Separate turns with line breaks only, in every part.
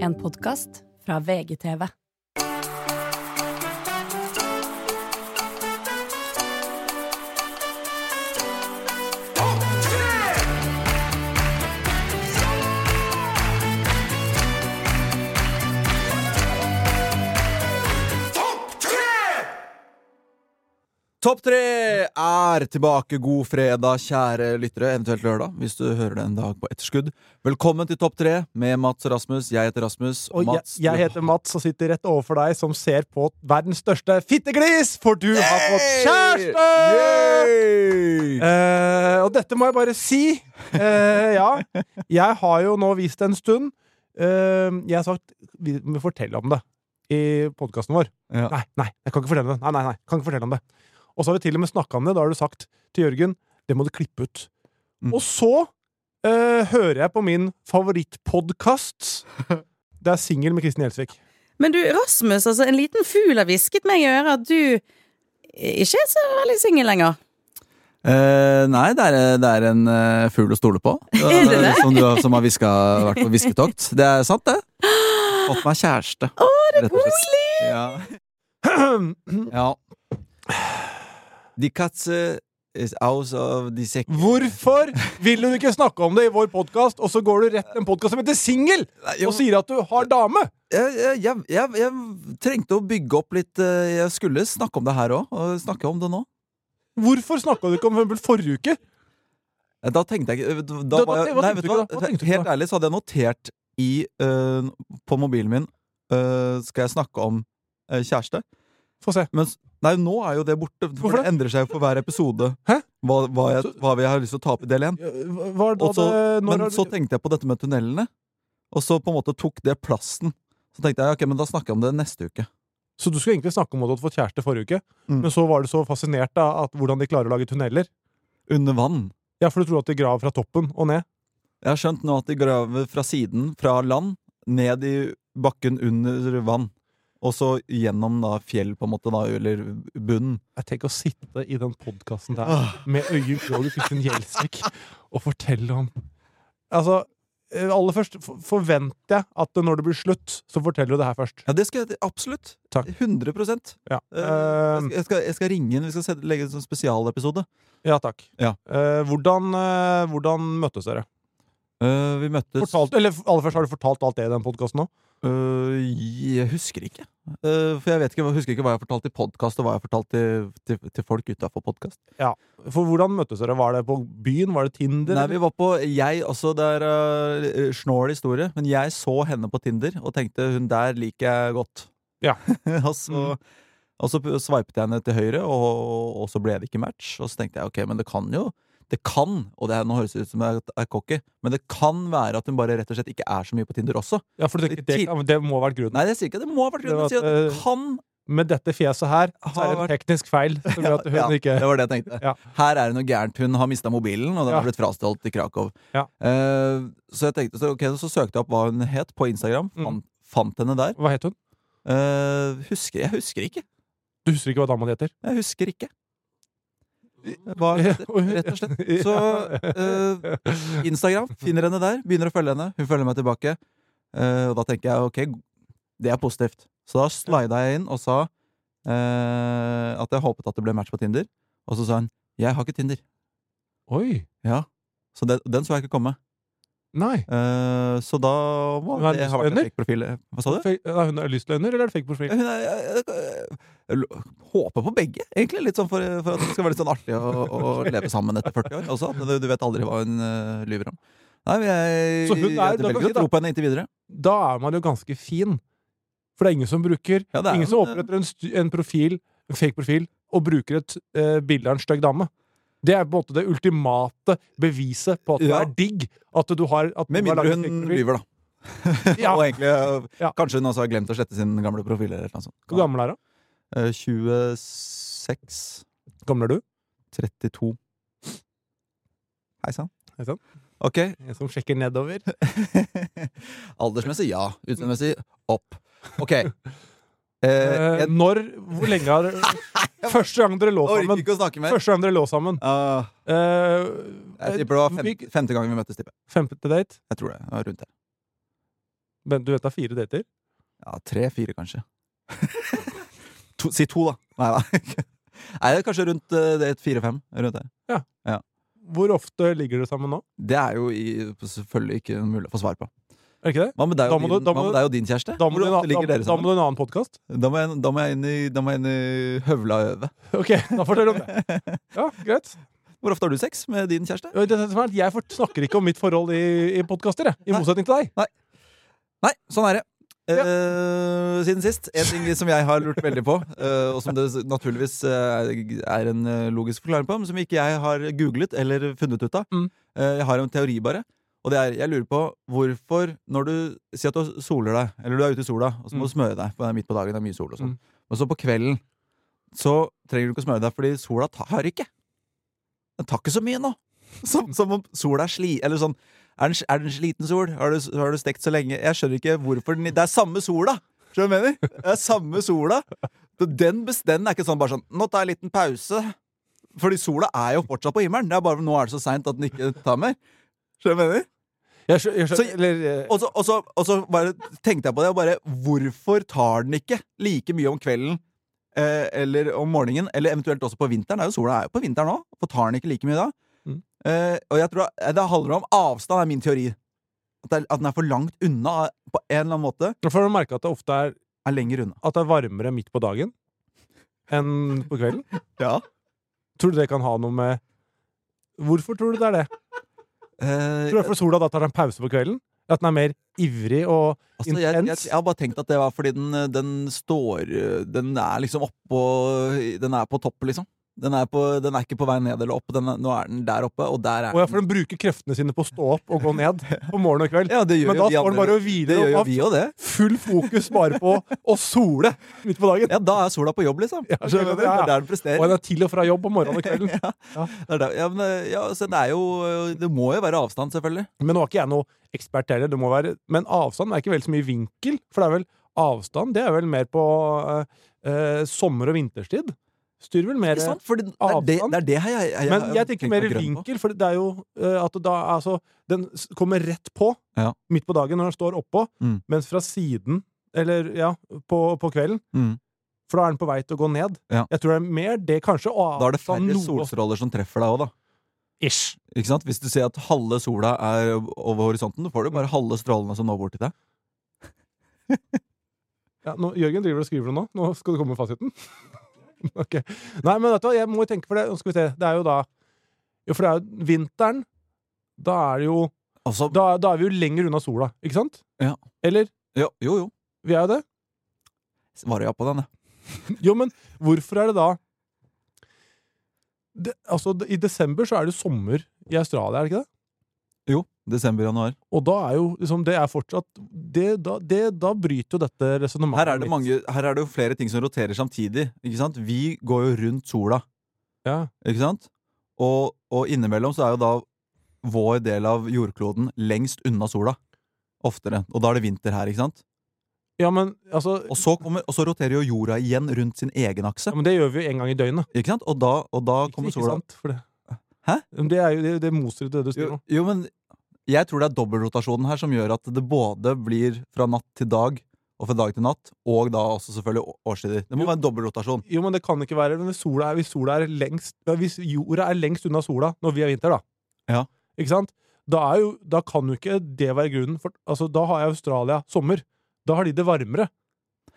En podkast fra VGTV.
Topp tre er tilbake. God fredag, kjære lyttere. Eventuelt lørdag, hvis du hører det en dag på etterskudd. Velkommen til Topp tre med Mats og Rasmus. Jeg heter Rasmus.
Og jeg,
Mats,
jeg heter Mats og sitter rett overfor deg, som ser på verdens største fitteglis, for du har fått kjæreste!
Yay!
Eh, og dette må jeg bare si. Eh, ja, jeg har jo nå vist det en stund. Eh, jeg har sagt vi må fortelle om det i podkasten vår.
Ja.
Nei, nei, jeg kan ikke fortelle om det. Nei, nei, nei, kan ikke fortelle om det. Og så har vi til og med snakka om det. Da har du sagt til Jørgen det må du klippe ut.
Mm.
Og så eh, hører jeg på min favorittpodkast. Det er Singel med Kristin Gjelsvik.
Men du, Rasmus, altså, en liten fugl har hvisket meg i øret at du ikke er så veldig singel lenger.
Eh, nei, det er, det er en eh, fugl å stole på.
Er det det?
Som, du, har- som har hviska, vært på hvisketokt. Det er sant, det. Fått meg kjæreste. Å, det er koselig! Ja. ja. The cat eh, is out of the second
Hvorfor vil du ikke snakke om det i vår podkast, og så går du rett til en podkast som heter Singel, og sier at du har dame?
jeg, jeg, jeg, jeg, jeg trengte å bygge opp litt eh, Jeg skulle snakke om det her òg, og snakke om det nå.
Hvorfor snakka du ikke om Humble forrige uke?
Eh, Da tenkte jeg ikke da,
Da- da
var jeg,
tenk- hva
Nei, vet
tenkte du
du hva?
da? Hva tenkte du
Helt
da?
ærlig så hadde jeg notert i, eh, på mobilen min eh, Skal jeg snakke om eh, kjæreste?
Få se.
Men s- nei, nå er jo det borte. For
Hvorfor
det endrer seg jo for hver episode
Hæ?
hva, hva, jeg, hva vi har lyst til å ta opp i del én.
Hva er da
Og så-
det når
Men
har du-
så tenkte jeg på dette med tunnelene, og så på en måte tok det plassen. Så tenkte jeg ok, men da snakker jeg om det neste uke.
Så du skulle egentlig snakke om at du hadde fått kjæreste forrige uke,
Mm.
men så var du så fascinert av at hvordan de klarer å lage tunneler.
Under vann.
Ja, for du tror at de graver fra toppen og ned.
Jeg har skjønt nå at de graver fra siden, fra land, ned i bakken under vann. Og så gjennom da fjell, på en måte, da, eller bunnen.
Jeg tenker å sitte i den podkasten der med Øyunn Krogh og Kristin Gjelsvik og fortelle om Altså, eh, aller først for- forventer jeg at når det blir slutt, så forteller du det her først.
Ja, det skal jeg absolutt.
Takk.
100 Eh,
Ja,
jeg,
eh,
skal, jeg, skal, jeg skal ringe inn. Vi skal sette, legge en sånn spesialepisode.
ja takk.
Ja.
Eh, hvordan, eh, hvordan møttes dere?
Eh, vi møttes
Fortalt, eller aller først, har du fortalt alt det i den podkasten nå?
Eh, Jeg husker ikke. Eh, for jeg vet ikke, jeg husker ikke hva jeg fortalte i podkast, og hva jeg fortalte til, til, til folk utafor podkast.
For hvordan møttes dere? Var det på byen? Var det Tinder?
Nei, vi var på Jeg også, det er eh, snål historie, men jeg så henne på Tinder og tenkte hun der liker jeg godt.
Ja. Mm.
og, så, og så sveipet jeg henne til høyre, og, og så ble det ikke match. Og så tenkte jeg ok, men det kan jo Det kan, og det her, nå høres det ut som jeg er cocky, men det kan være at hun bare rett og slett ikke er så mye på Tinder også.
ja, for du tenker, det, kan- det må ha vært grunnen.
Nei, det sier ikke det må ha vært grunnen. Det,
Det
det,
var at, eh,
kan
Med dette fjeset her, så er det
Har
en teknisk feil som gjør at hun
ja,
ikke
Det var det jeg tenkte.
Ja.
Her er det noe gærent. Hun har mista mobilen, og den
Ja.
har blitt frastjålet i Krakow.
Ja.
Eh, så jeg tenkte, så, ok, så søkte jeg opp hva hun het på Instagram.
Mm.
Fant, fant henne der.
Hva het hun?
Eh, husker, jeg husker ikke.
Du husker ikke hva dama di heter?
Jeg husker ikke. Hva hun heter, rett og slett. Så eh, Instagram finner henne der, begynner å følge henne. Hun følger meg tilbake. Eh, og da tenker jeg ok, det er positivt. Så da slida jeg inn og sa eh, at jeg håpet at det ble match på Tinder. Og så sa hun jeg har ikke Tinder.
Oi!
Ja, så den, den så jeg ikke komme.
Nei.
Eh, så da må
Hun er
det ha vært en
lystløgner?
fake profil. Hva sa du?
Fe- Nei, hun er lystløgner, eller er det fake profil?
Hun er, jeg, jeg, jeg håper på begge, egentlig. Litt sånn for, for at det skal være litt sånn artig å, å leve sammen etter 40 år. Også, at du, du vet aldri hva hun eh, lyver om. Nei, men jeg,
Så hun er-
jeg
da kan vi
velger
si
å
da-
tro på henne inntil videre.
Da er man jo ganske fin. For det er ingen som bruker
Ja, det er
Ingen som
jo en-
oppretter en, stu- en profil, en fake profil, og bruker et eh, bilde av en stygg dame. Det er på en måte det ultimate beviset på at du
Ja.
er digg. At du har at
Med
du har laget
mindre
en
hun
fake profil.
lyver, da.
Ja.
Og egentlig, eh,
Ja.
Kanskje hun også har glemt å slette sin gamle profil. Eller noe sånt.
Hvor gammel er hun?
Eh, 26
Gammel er du?
32. Hei sann.
Hei sann.
Ok,
En som sjekker nedover.
Aldersmessig ja. Utseendemessig opp. Ok. Eh,
Eh,
jeg
når Hvor lenge har Første gang dere lå
orker
sammen.
ikke å snakke mer.
Første gang dere lå sammen.
Ah,
Eh,
jeg tipper det var fem,
vi-
femte gang vi møttes. tipper jeg.
Femte date.
Jeg tror det. det var rundt det.
Men du vet det er fire dater?
Ja, tre-fire, kanskje. to, si to, da. Nei da. Nei, det er kanskje rundt eh, det er et fire-fem. Rundt der.
Hvor ofte ligger dere sammen nå?
Det er jo i, selvfølgelig ikke mulig å få svar på.
Er det ikke det?
Hva med deg
Da
og,
må
din,
du- da
hva
må
med
du-
deg og din kjæreste?
Da må du,
Hvor ofte
da,
ligger
da,
dere
da må
sammen?
du en annen podkast.
Da må jeg, da må jeg, inn, i, da må jeg inn i høvla og øve.
Ok, da fortell om det. Ja, greit.
Hvor ofte har du sex med din kjæreste?
Og Det som er, at jeg fort- snakker ikke om mitt forhold i, i podkaster, jeg. I
Nei.
motsetning til deg.
Nei, sånn er det. Eh,
Ja.
siden sist. En ting som jeg har lurt veldig på, eh, og som det s- naturligvis eh, er en eh, logisk forklaring på, men som ikke jeg har googlet eller funnet ut av.
Mm.
Eh, jeg har en teori, bare. Og det er, jeg lurer på hvorfor når du sier at du soler deg, eller du er ute i sola, og så må
Mm.
du smøre deg, for det er midt på dagen, det er mye sol og sånn.
Mm.
Og så på kvelden så trenger du ikke å smøre deg, fordi sola tar ikke. Den tar ikke så mye nå. Som, som om sola er sli... Eller sånn er den, er den sliten sol? Har du, har du stekt så lenge? Jeg skjønner ikke hvorfor den Det er samme sola! Skjønner du hva jeg mener? Det er samme sola. Så Den, bes- den er ikke sånn bare sånn Nå tar jeg en liten pause. Fordi sola er jo fortsatt på himmelen. Det er bare nå er det så seint at den ikke tar mer. Skjønner du hva jeg mener?
Jeg skjø, jeg skjø,
Så-
eller, eh,
Og så, og så, og så bare tenkte jeg på det, og bare Hvorfor tar den ikke like mye om kvelden eh, eller om morgenen, eller eventuelt også på vinteren? Det er jo sola er jo på vinteren òg. Hvorfor tar den ikke like mye da?
Mm.
Eh, og jeg tror eh, det handler om avstand, er min teori. At, det, er- at den er for langt unna eh, på en eller annen måte.
for å merke at det ofte er,
Er lenger unna.
at det er varmere midt på dagen enn på kvelden.
Ja.
Tror du det kan ha noe med Hvorfor tror du det er det? Tror du
Eh,
derfor sola da tar en pause på kvelden? At den er mer ivrig og
altså, jeg, jeg, jeg har bare tenkt at det var fordi den, eh, den står eh, Den er liksom oppå Den er på topp, liksom. Den er, på, den er ikke på vei ned eller opp. Den er, nå er den der oppe, og der er
Og ja, for den bruker kreftene sine på å stå opp og gå ned på morgen og kveld.
Ja, det gjør
Men
jo
da
vi
står den
andre.
bare og
Det
hviler
gjør
og
jo
har
vi òg, det.
full fokus bare på å sole midt på dagen.
Ja, Da er sola på jobb, liksom.
Ja,
Skjønner du? Det
ja, ja.
er der den presterer.
Og den er til og fra jobb om morgenen og kvelden.
Det, er der, ja, men, ja, så det, er jo, det må jo være avstand, selvfølgelig.
Men nå er ikke jeg noe ekspert heller, det må være Men avstand er ikke vel så mye vinkel, for det er vel avstand Det er vel mer på eh, eh, sommer- og vinterstid. Styrer vel mer
Ikke sant? Fordi det er det, det, er det her jeg, jeg,
Men jeg
har
tenker
tenkt
mer
meg grønn på.
vinkel, for det er jo eh, at da altså, Den s- kommer rett på
Ja.
midt på dagen når den står oppå,
Mm.
mens fra siden, eller ja, på, på kvelden
Mm.
For da er den på vei til å gå ned.
Ja.
Jeg tror det er mer det, kanskje. Og
Da er det
avstand
færre
noe-
solstråler som treffer deg òg, da.
Ish.
Ikke sant? Hvis du ser at halve sola er over horisonten, da får du bare halve strålene som når bort til deg.
Ja, nå, Jørgen driver og skriver det nå. Nå skal det komme fasiten. ok. Nei, men vet du hva, jeg må jo tenke for det. Nå skal vi se. Det er jo da Jo, for det er jo vinteren. Da er det jo
Altså,
Da, da er vi jo lenger unna sola, ikke sant?
Ja.
Eller?
jo, jo. jo.
Vi er jo det.
Svarer ja på den, jeg.
Jo, men hvorfor er det da det, Altså, det- i desember så er det jo sommer i Australia, er det ikke det?
Jo. Desember-januar.
Og da er jo liksom Det er fortsatt Det, da, det, da bryter jo dette resonnementet
Her er, det
litt.
mange, her er det jo flere ting som roterer samtidig. Ikke sant? Vi går jo rundt sola.
Ja.
Ikke sant? Og, og innimellom så er jo da vår del av jordkloden lengst unna sola. Oftere. Og da er det vinter her, ikke sant?
ja, men altså
Og så, kommer, og så roterer jo jorda igjen rundt sin egen akse.
ja, men Det gjør vi jo en gang i døgnet.
Ikke sant? Og da, og da
Ikke-
kommer
ikke
sola
sant, for det.
Hæ?
Men Det, er jo, det, det moser det du sier
jo,
nå.
jo, men jeg tror det er dobbeltrotasjonen her som gjør at det både blir fra natt til dag, og fra dag til natt, og da også selvfølgelig å- årstider. Det må
Jo.
være en dobbeltrotasjon.
Jo, men det kan ikke være men hvis sola er, hvis sola er lengst ja, Hvis jorda er lengst unna sola når vi er vinter, da
Ja.
Ikke sant? Da, er jo, da kan jo ikke det være grunnen. For, altså, da har jeg Australia sommer. Da har de det varmere.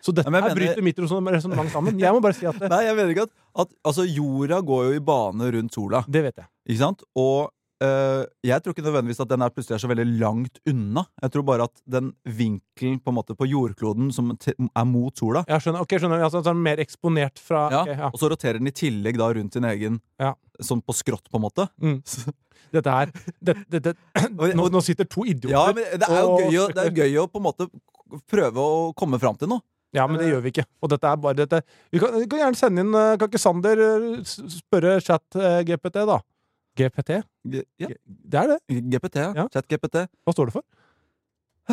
Så dette
Ja, men jeg
her
mener-
bryter mitt resonnement sammen. Jeg må bare si at det,
Nei, jeg mener ikke at, at Altså, jorda går jo i bane rundt sola.
det vet jeg.
Ikke sant? Og øh, jeg tror ikke nødvendigvis at den er plutselig er så veldig langt unna. Jeg tror bare at den vinkelen på, en måte, på jordkloden som te- er mot sola,
Jeg skjønner. Ok, skjønner. Altså, den er mer eksponert fra
Ja.
ok, ja.
og så roterer den i tillegg da rundt sin egen
Ja.
Sånn på skrått, på en måte.
Mm. Dette her det, det, det, nå, nå sitter to idioter
Ja, men det er jo
og-
gøy å, det er gøy å på en måte prøve å komme fram til noe.
Ja, men det gjør vi ikke. Og dette er bare dette. Vi kan, vi kan gjerne sende inn eh, Kan ikke Sander eh, s- spørre eh, chat-GPT, da? GPT?
G ja.
Det er det.
GPT, ja.
Ja.
Chat-GPT.
Hva står det for?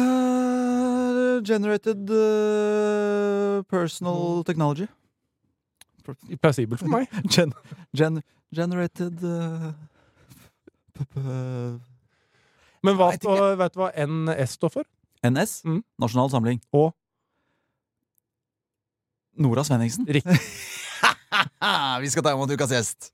Eh, generated eh, personal technology.
Plausibelt for meg.
Gen gen generated eh, p- p-
Men hva
Nei, jeg
står, vet du hva NS står for?
NS.
Mm.
Nasjonal Samling.
Og?
Nora Svenningsen.
Riktig.
Vi skal ta imot ukas gjest.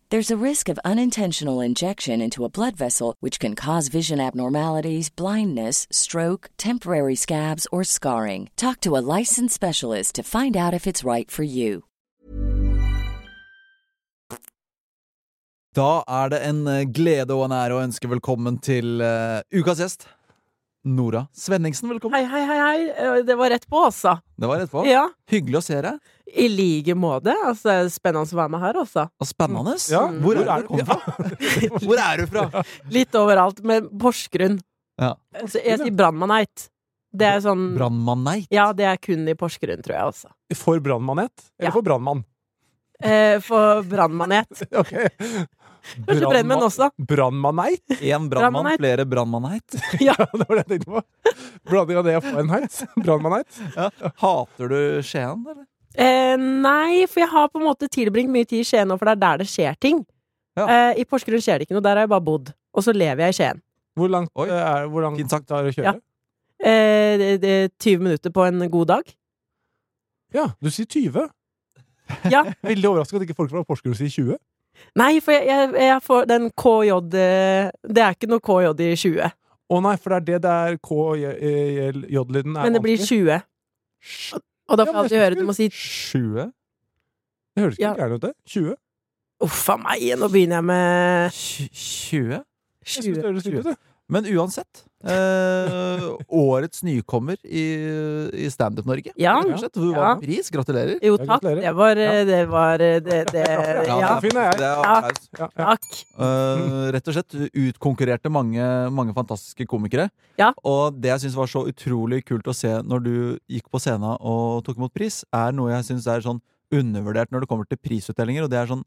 There's a risk of unintentional injection into a blood vessel, which can cause vision abnormalities, blindness, stroke, temporary scabs, or scarring. Talk to a licensed specialist to find out if it's right for you.
Da er det en eh, glede og en ære å ønske velkommen til eh, ukas gjest. Nora Svenningsen, velkommen.
Hei, hei, hei, hei. Eh, Det var rett på, altså.
Det var rett på.
Ja.
Hyggelig å se deg.
I like måte. Altså, det er spennende å være med her, altså.
Og spennende.
Ja,
Mm. Hvor er du kom fra? Hvor er du fra?
Litt overalt, men Porsgrunn.
Ja.
Altså, jeg sier Brannmaneit. Det er sånn
Brannmanneit.
Ja, det er kun i Porsgrunn, tror jeg, altså.
For brannmanet? Eller
Ja.
for brannmann?
Eh, for brannmanet.
Ok.
Kanskje brennmenn også.
Brannmaneit?
Én brannmann,
Brannmanneit.
flere brannmannheit.
Ja, det var det jeg tenkte på. Blanding av det og Fahrenheit. Brannmaneit.
Hater du Skien, eller?
Eh, nei, for jeg har på en måte tilbringt mye tid i Skien nå, for det er der det skjer ting.
Ja.
Eh, I Porsgrunn skjer det ikke noe, der har jeg bare bodd. Og så lever jeg i Skien.
Hvor langt
Oi.
eh, er hvor langt
Fint sagt.
tar det å
Ja.
kjøre?
Eh, det, det, 20 minutter på en god dag.
Ja, du sier 20.
Ja.
Veldig overrasket at ikke folk fra Porsgrunn sier 20.
Nei, for jeg, jeg, jeg får den KJ eh, Det er ikke noe KJ i 20,
Å nei, for det er det der eh, KJ-lyden er
men det blir
vanskelig.
20.
Sj-
Og da
Ja,
får jeg
men
alltid høre du må si
20?
Det høres ikke
Ja.
gærent ut, det. 20.
uff a meg, nå begynner jeg med
20?
Jeg synes
20.
det høres litt ut, det.
Men uansett eh, Årets nykommer i, i Standup Norge.
Ja.
Rett og slett. Du
Ja.
vant en pris. Gratulerer.
Jo
Ja,
takk,
gratulerer.
det var eh, Det var eh, Det, det Ja,
fin er jeg.
Det er
Ja.
applaus.
Ja, ja.
takk.
Eh, rett og slett utkonkurrerte mange, mange fantastiske komikere.
Ja.
Og det jeg syns var så utrolig kult å se når du gikk på scenen og tok imot pris, er noe jeg syns er sånn undervurdert når det kommer til prisutdelinger, og det er sånn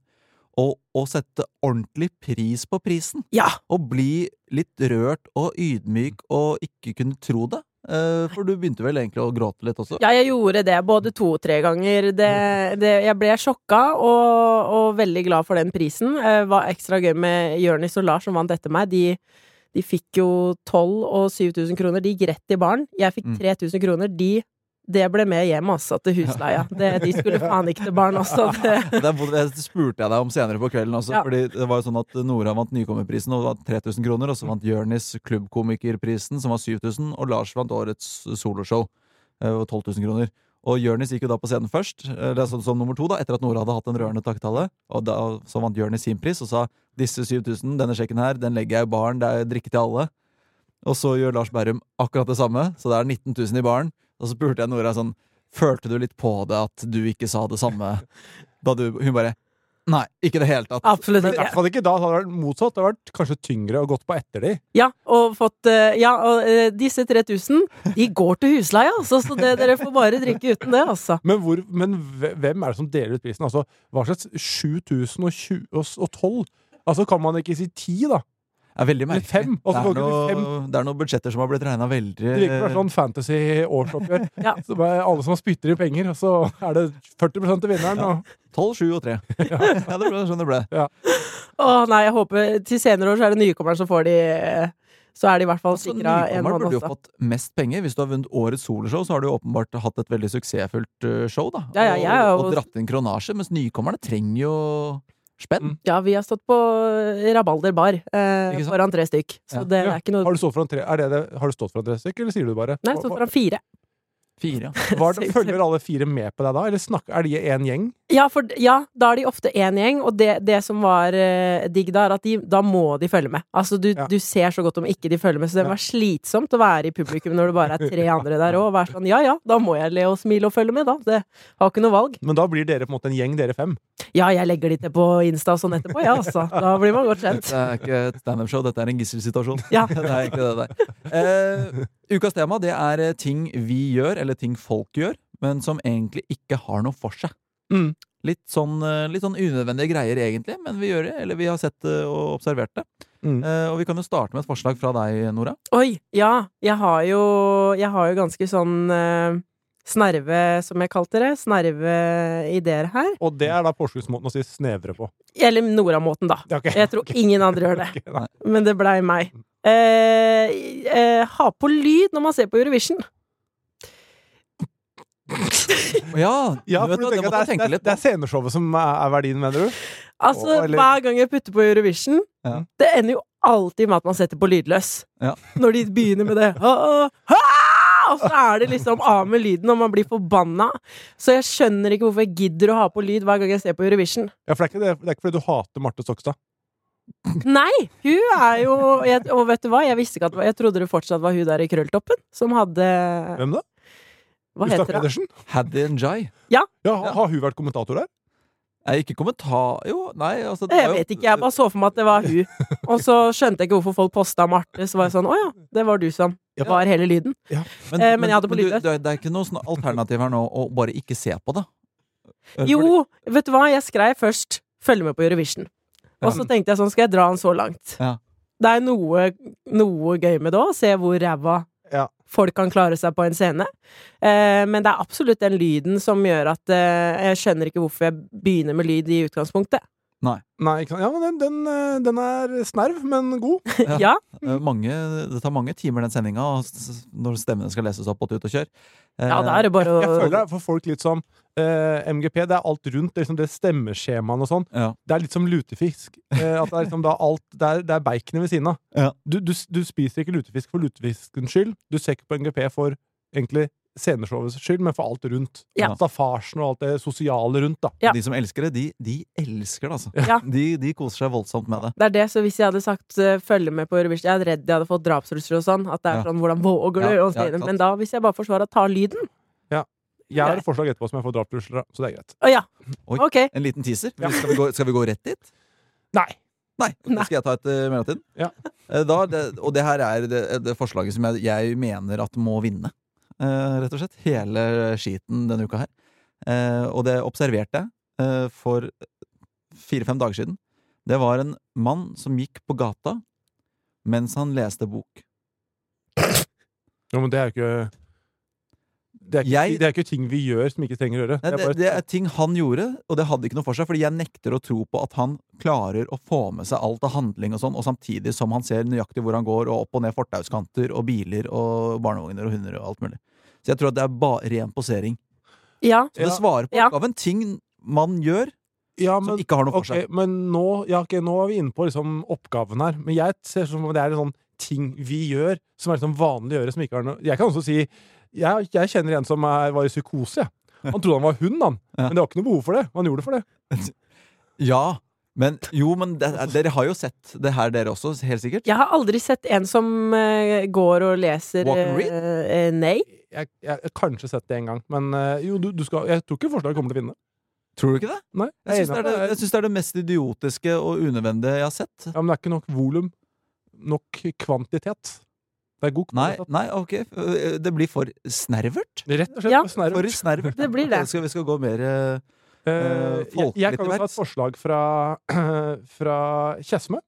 å, å sette ordentlig pris på prisen.
Ja.
Og bli litt rørt og ydmyk og ikke kunne tro det. Eh, for du begynte vel egentlig å gråte litt også?
Ja, jeg gjorde det både to-tre ganger. Det, det, jeg ble sjokka og, og veldig glad for den prisen. Det var ekstra gøy med Jørnis og Lars som vant etter meg. De, de fikk jo 12 og 7000 kroner. De gikk rett i baren. Jeg fikk
Mm.
3000 kroner. De det ble med hjem, altså, til husleia. Det, de skulle faen ikke til barn også. Det,
Det, er- det spurte jeg deg om senere på kvelden også.
Ja.
Fordi det var jo sånn at Nora vant Nykommerprisen og vant 3000 kroner.
Mm.
Og så vant Jørnis Klubbkomikerprisen, som var 7000. Og Lars vant Årets soloshow, eh, og 12 000 kroner. Og Jørnis gikk jo da på scenen først, eh, det er sånn som nummer to, da, etter at Nora hadde hatt en rørende takketale. Og da, så vant Jørnis sin pris og sa disse 7000, denne sjekken her, den legger jeg i baren, det er drikke til alle. Og så gjør Lars Berrum akkurat det samme, så det er 19 000 i baren. Og så spurte jeg Nora sånn, følte du litt på det at du ikke sa det samme? Da du, hun bare Nei, ikke i det hele tatt.
absolutt
Men i
ikke.
hvert fall ikke da. Det hadde vært motsatt. Det hadde vært kanskje tyngre og gått på etter de.
Ja, og fått eh, Ja, og eh, disse 3000, de går til husleia, altså, så det, dere får bare drikke uten det, altså.
Men, hvor, men hve- hvem er det som deler ut prisen? Altså, hva slags 7020 og s- og 12? Altså, kan man ikke si 10, da?
Det er veldig
Eller
merkelig.
fem, og så
det, er
går det til
noe, det er noen budsjetter som har blitt regna veldig
Det virker som sånn fantasy-årsoppgjør.
Ja.
Så bare alle som spytter i penger, og så er det 40 til vinneren. Og,
12, 7 og 3. ja, det ble sånn det ble.
Å nei, jeg håper til senere år så er det nykommeren som får de eh, Så er de i hvert fall
Så
sikra en
Altså, Nykommer
måned
burde jo
også.
fått mest penger. Hvis du har vunnet årets soloshow, så har du jo åpenbart hatt et veldig suksessfullt eh, show, da.
Ja, ja, jeg er
og, og
jo-
dratt inn kronasje, mens nykommerne trenger jo Spenn?
Mm.
Ja, vi har stått på rabalderbar eh,
Ikke sant?
foran tre stykk, så
Ja.
det
Ja.
er ikke noe
Har du stått foran tre, er det det, har du stått foran tre stykker, eller sier du det bare?
Nei, stått foran fire.
Fire, ja.
Hva- hva- følger alle fire med på deg da, eller snakker, er de en gjeng?
Ja, for ja, da er de ofte én gjeng, og det, det som var eh, digg da, er at de, da må de følge med. Altså, du,
Ja.
du ser så godt om ikke de følger med, så det
Ja.
var slitsomt å være i publikum når det bare er tre andre der òg, og være sånn ja ja, da må jeg le og smile og følge med, da. Det har ikke noe valg.
Men da blir dere på en måte en gjeng, dere fem.
Ja, jeg legger de til på Insta og sånn etterpå, ja altså. Da blir man godt kjent.
Dette er ikke et standup-show, dette er en gisselsituasjon.
Ja.
Det er egentlig det der. Eh, ukas tema det er eh, ting vi gjør, eller ting folk gjør, men som egentlig ikke har noe for seg.
Mm.
Litt, sånn, eh, litt sånn unødvendige greier, egentlig, men vi gjør det, eller vi har sett det og observert det.
Mm.
Eh, og vi kan jo starte med et forslag fra deg, Nora.
Oi! Ja, jeg har jo, jeg har jo ganske sånn eh, snerve, som jeg kalte det. Snerve ideer her.
Og det er da påskuddsmåten å si snevre på.
Eller Nora-måten, da.
Ja, ok.
Jeg tror ingen andre gjør det.
Ok, nei.
Men det blei meg. Eh, eh, ha på lyd når man ser på Eurovision.
Ja,
Ja,
du
for
vet hva, det måtte
du tenker at
jeg
det
tenke
er, det,
litt
er- det
på.
er sceneshowet som er, er verdien, mener du?
Altså,
Å, eller-
Hver gang jeg putter på Eurovision,
Ja.
det ender jo alltid med at man setter på lydløs.
Ja.
Når de begynner med det. Ah, ah, ah! Og så er det liksom av med lyden, og man blir forbanna. Så jeg skjønner ikke hvorfor jeg gidder å ha på lyd hver gang jeg ser på Eurovision.
Ja, for det er, ikke, det, det er ikke fordi du hater Marte Stokstad.
Nei! Hun er jo jeg, Og vet du hva, jeg visste ikke at det var- Jeg trodde det fortsatt var hun der i krølltoppen som hadde
Hvem da?
Hva
Gustav
heter det?
Pedersen?
Haddy and Jai.
Ja, har,
Ja.
har hun vært kommentator der?
Er ikke kommentar... Jo, nei, altså det
Jeg
var jo-
vet ikke, jeg bare så for meg at det var hun. Og så skjønte jeg ikke hvorfor folk posta Marte. Så var jeg sånn Å ja, det var du som
Ja.
var hele lyden. eh, men jeg hadde på
du-
lydløs.
det er- Det er ikke noe sånn alternativ her nå å bare ikke se på det. Eh, fordi-
Jo, vet du hva? Jeg skrev først 'følg med på Eurovision'. Og så tenkte jeg sånn, skal jeg dra den så langt?
Ja.
Det er noe, noe gøy med det òg, se hvor ræva
Ja.
folk kan klare seg på en scene. Eh, men det er absolutt den lyden som gjør at eh, jeg skjønner ikke hvorfor jeg begynner med lyd i utgangspunktet.
Nei, ikke sant? Ja, men den, den, eh, den er snerv, men god.
Ja.
Ja,
Eh, mange, det tar mange timer, den sendinga, og s- s- når stemmene skal leses opp og tut og kjør. Eh,
ja da er det bare
Jeg føler det
å
er for folk litt som eh, MGP. Det er alt rundt. Det, er liksom det stemmeskjemaene og sånn.
Eh, ja.
Det er litt som lutefisk. Eh, at det er liksom da alt Det er, det er baconet ved siden av.
Ja.
Du, du, du spiser ikke lutefisk for lutefiskens skyld. Du ser ikke på NGP for egentlig sceneshowets skyld, men for alt rundt.
Ja.
Staffasjen og alt det sosiale rundt, da.
Ja.
De som elsker det, de, de elsker det, altså.
Ja.
De, de koser seg voldsomt med det.
Det er det, så hvis jeg hadde sagt eh, 'følg med på Eurovision' Jeg er redd jeg hadde fått drapstrusler og sånn. At det er
Ja.
sånn 'hvordan våger du?'
Ja,
og
ja,
sånn.
ikke sant.
Men da, hvis jeg bare forsvarer 'ta lyden'
Jeg har et forslag etterpå som jeg får drapstrusler av, så det er greit.
Å ja!
Oi.
Ok.
En liten teaser.
Ja.
Skal, vi gå, skal vi gå rett dit?
Nei!
Nei.
Nei.
Skal jeg ta et eh, mellomtid?
Ja.
Eh, Da, det, og det her er det, det forslaget som jeg, jeg mener at må vinne, eh, rett og slett. Hele skiten denne uka her. Eh, og det observerte jeg eh, for fire-fem dager siden. Det var en mann som gikk på gata mens han leste bok.
Jo, men det er jo ikke det er ikke,
Jeg-
det er ikke ting vi gjør som ikke trenger å gjøre.
Nei,
Det er
det,
bare,
det er ting han gjorde, og det hadde ikke noe for seg. Fordi jeg nekter å tro på at han klarer å få med seg alt av handling og sånn, og samtidig som han ser nøyaktig hvor han går, og opp og ned fortauskanter og biler og barnevogner og hunder og alt mulig. Så jeg tror at det er ba ren posering.
Ja.
Så det
Ja.
svarer på
Ja.
oppgaven. Ting man gjør
ja,
som
men,
ikke har noe for
ok,
seg.
men nå, ja, ok, nå er vi inne på liksom, oppgaven her. Men jeg ser som om det er en sånn ting vi gjør, som er liksom vanlig å gjøre. Som ikke har noe. Jeg kan også si jeg, jeg kjenner en som er, var i psykose. jeg. Han trodde han var hund, han.
Ja.
Men det var ikke noe behov for det. Han gjorde det for det.
Ja, men jo, men det, dere har jo sett det her, dere også, helt sikkert.
Jeg har aldri sett en som eh, går og leser
Walk and read?
eh, eh, Nei.
Jeg, jeg, har kanskje sett det en gang, men eh, jo, du, du skal, jeg tror ikke forslaget kommer til å vinne.
Tror du ikke det?
Nei,
Jeg
jeg
syns
er
det,
enig
er det, jeg
i at det er-
synes det er det mest idiotiske og unødvendige jeg har sett.
ja, men det er ikke nok volum. Nok kvantitet. Det er god
Nei,
kvalitet.
nei, ok. Det blir for snervert.
Rett og slett.
Ja.
for snerver.
For snervert.
Det blir
Ok,
det.
Skal, vi skal gå mer eh,
Eh,
Eh,
jeg, jeg kan jo ta
folkelitterært.
et forslag fra, fra Tjøsme.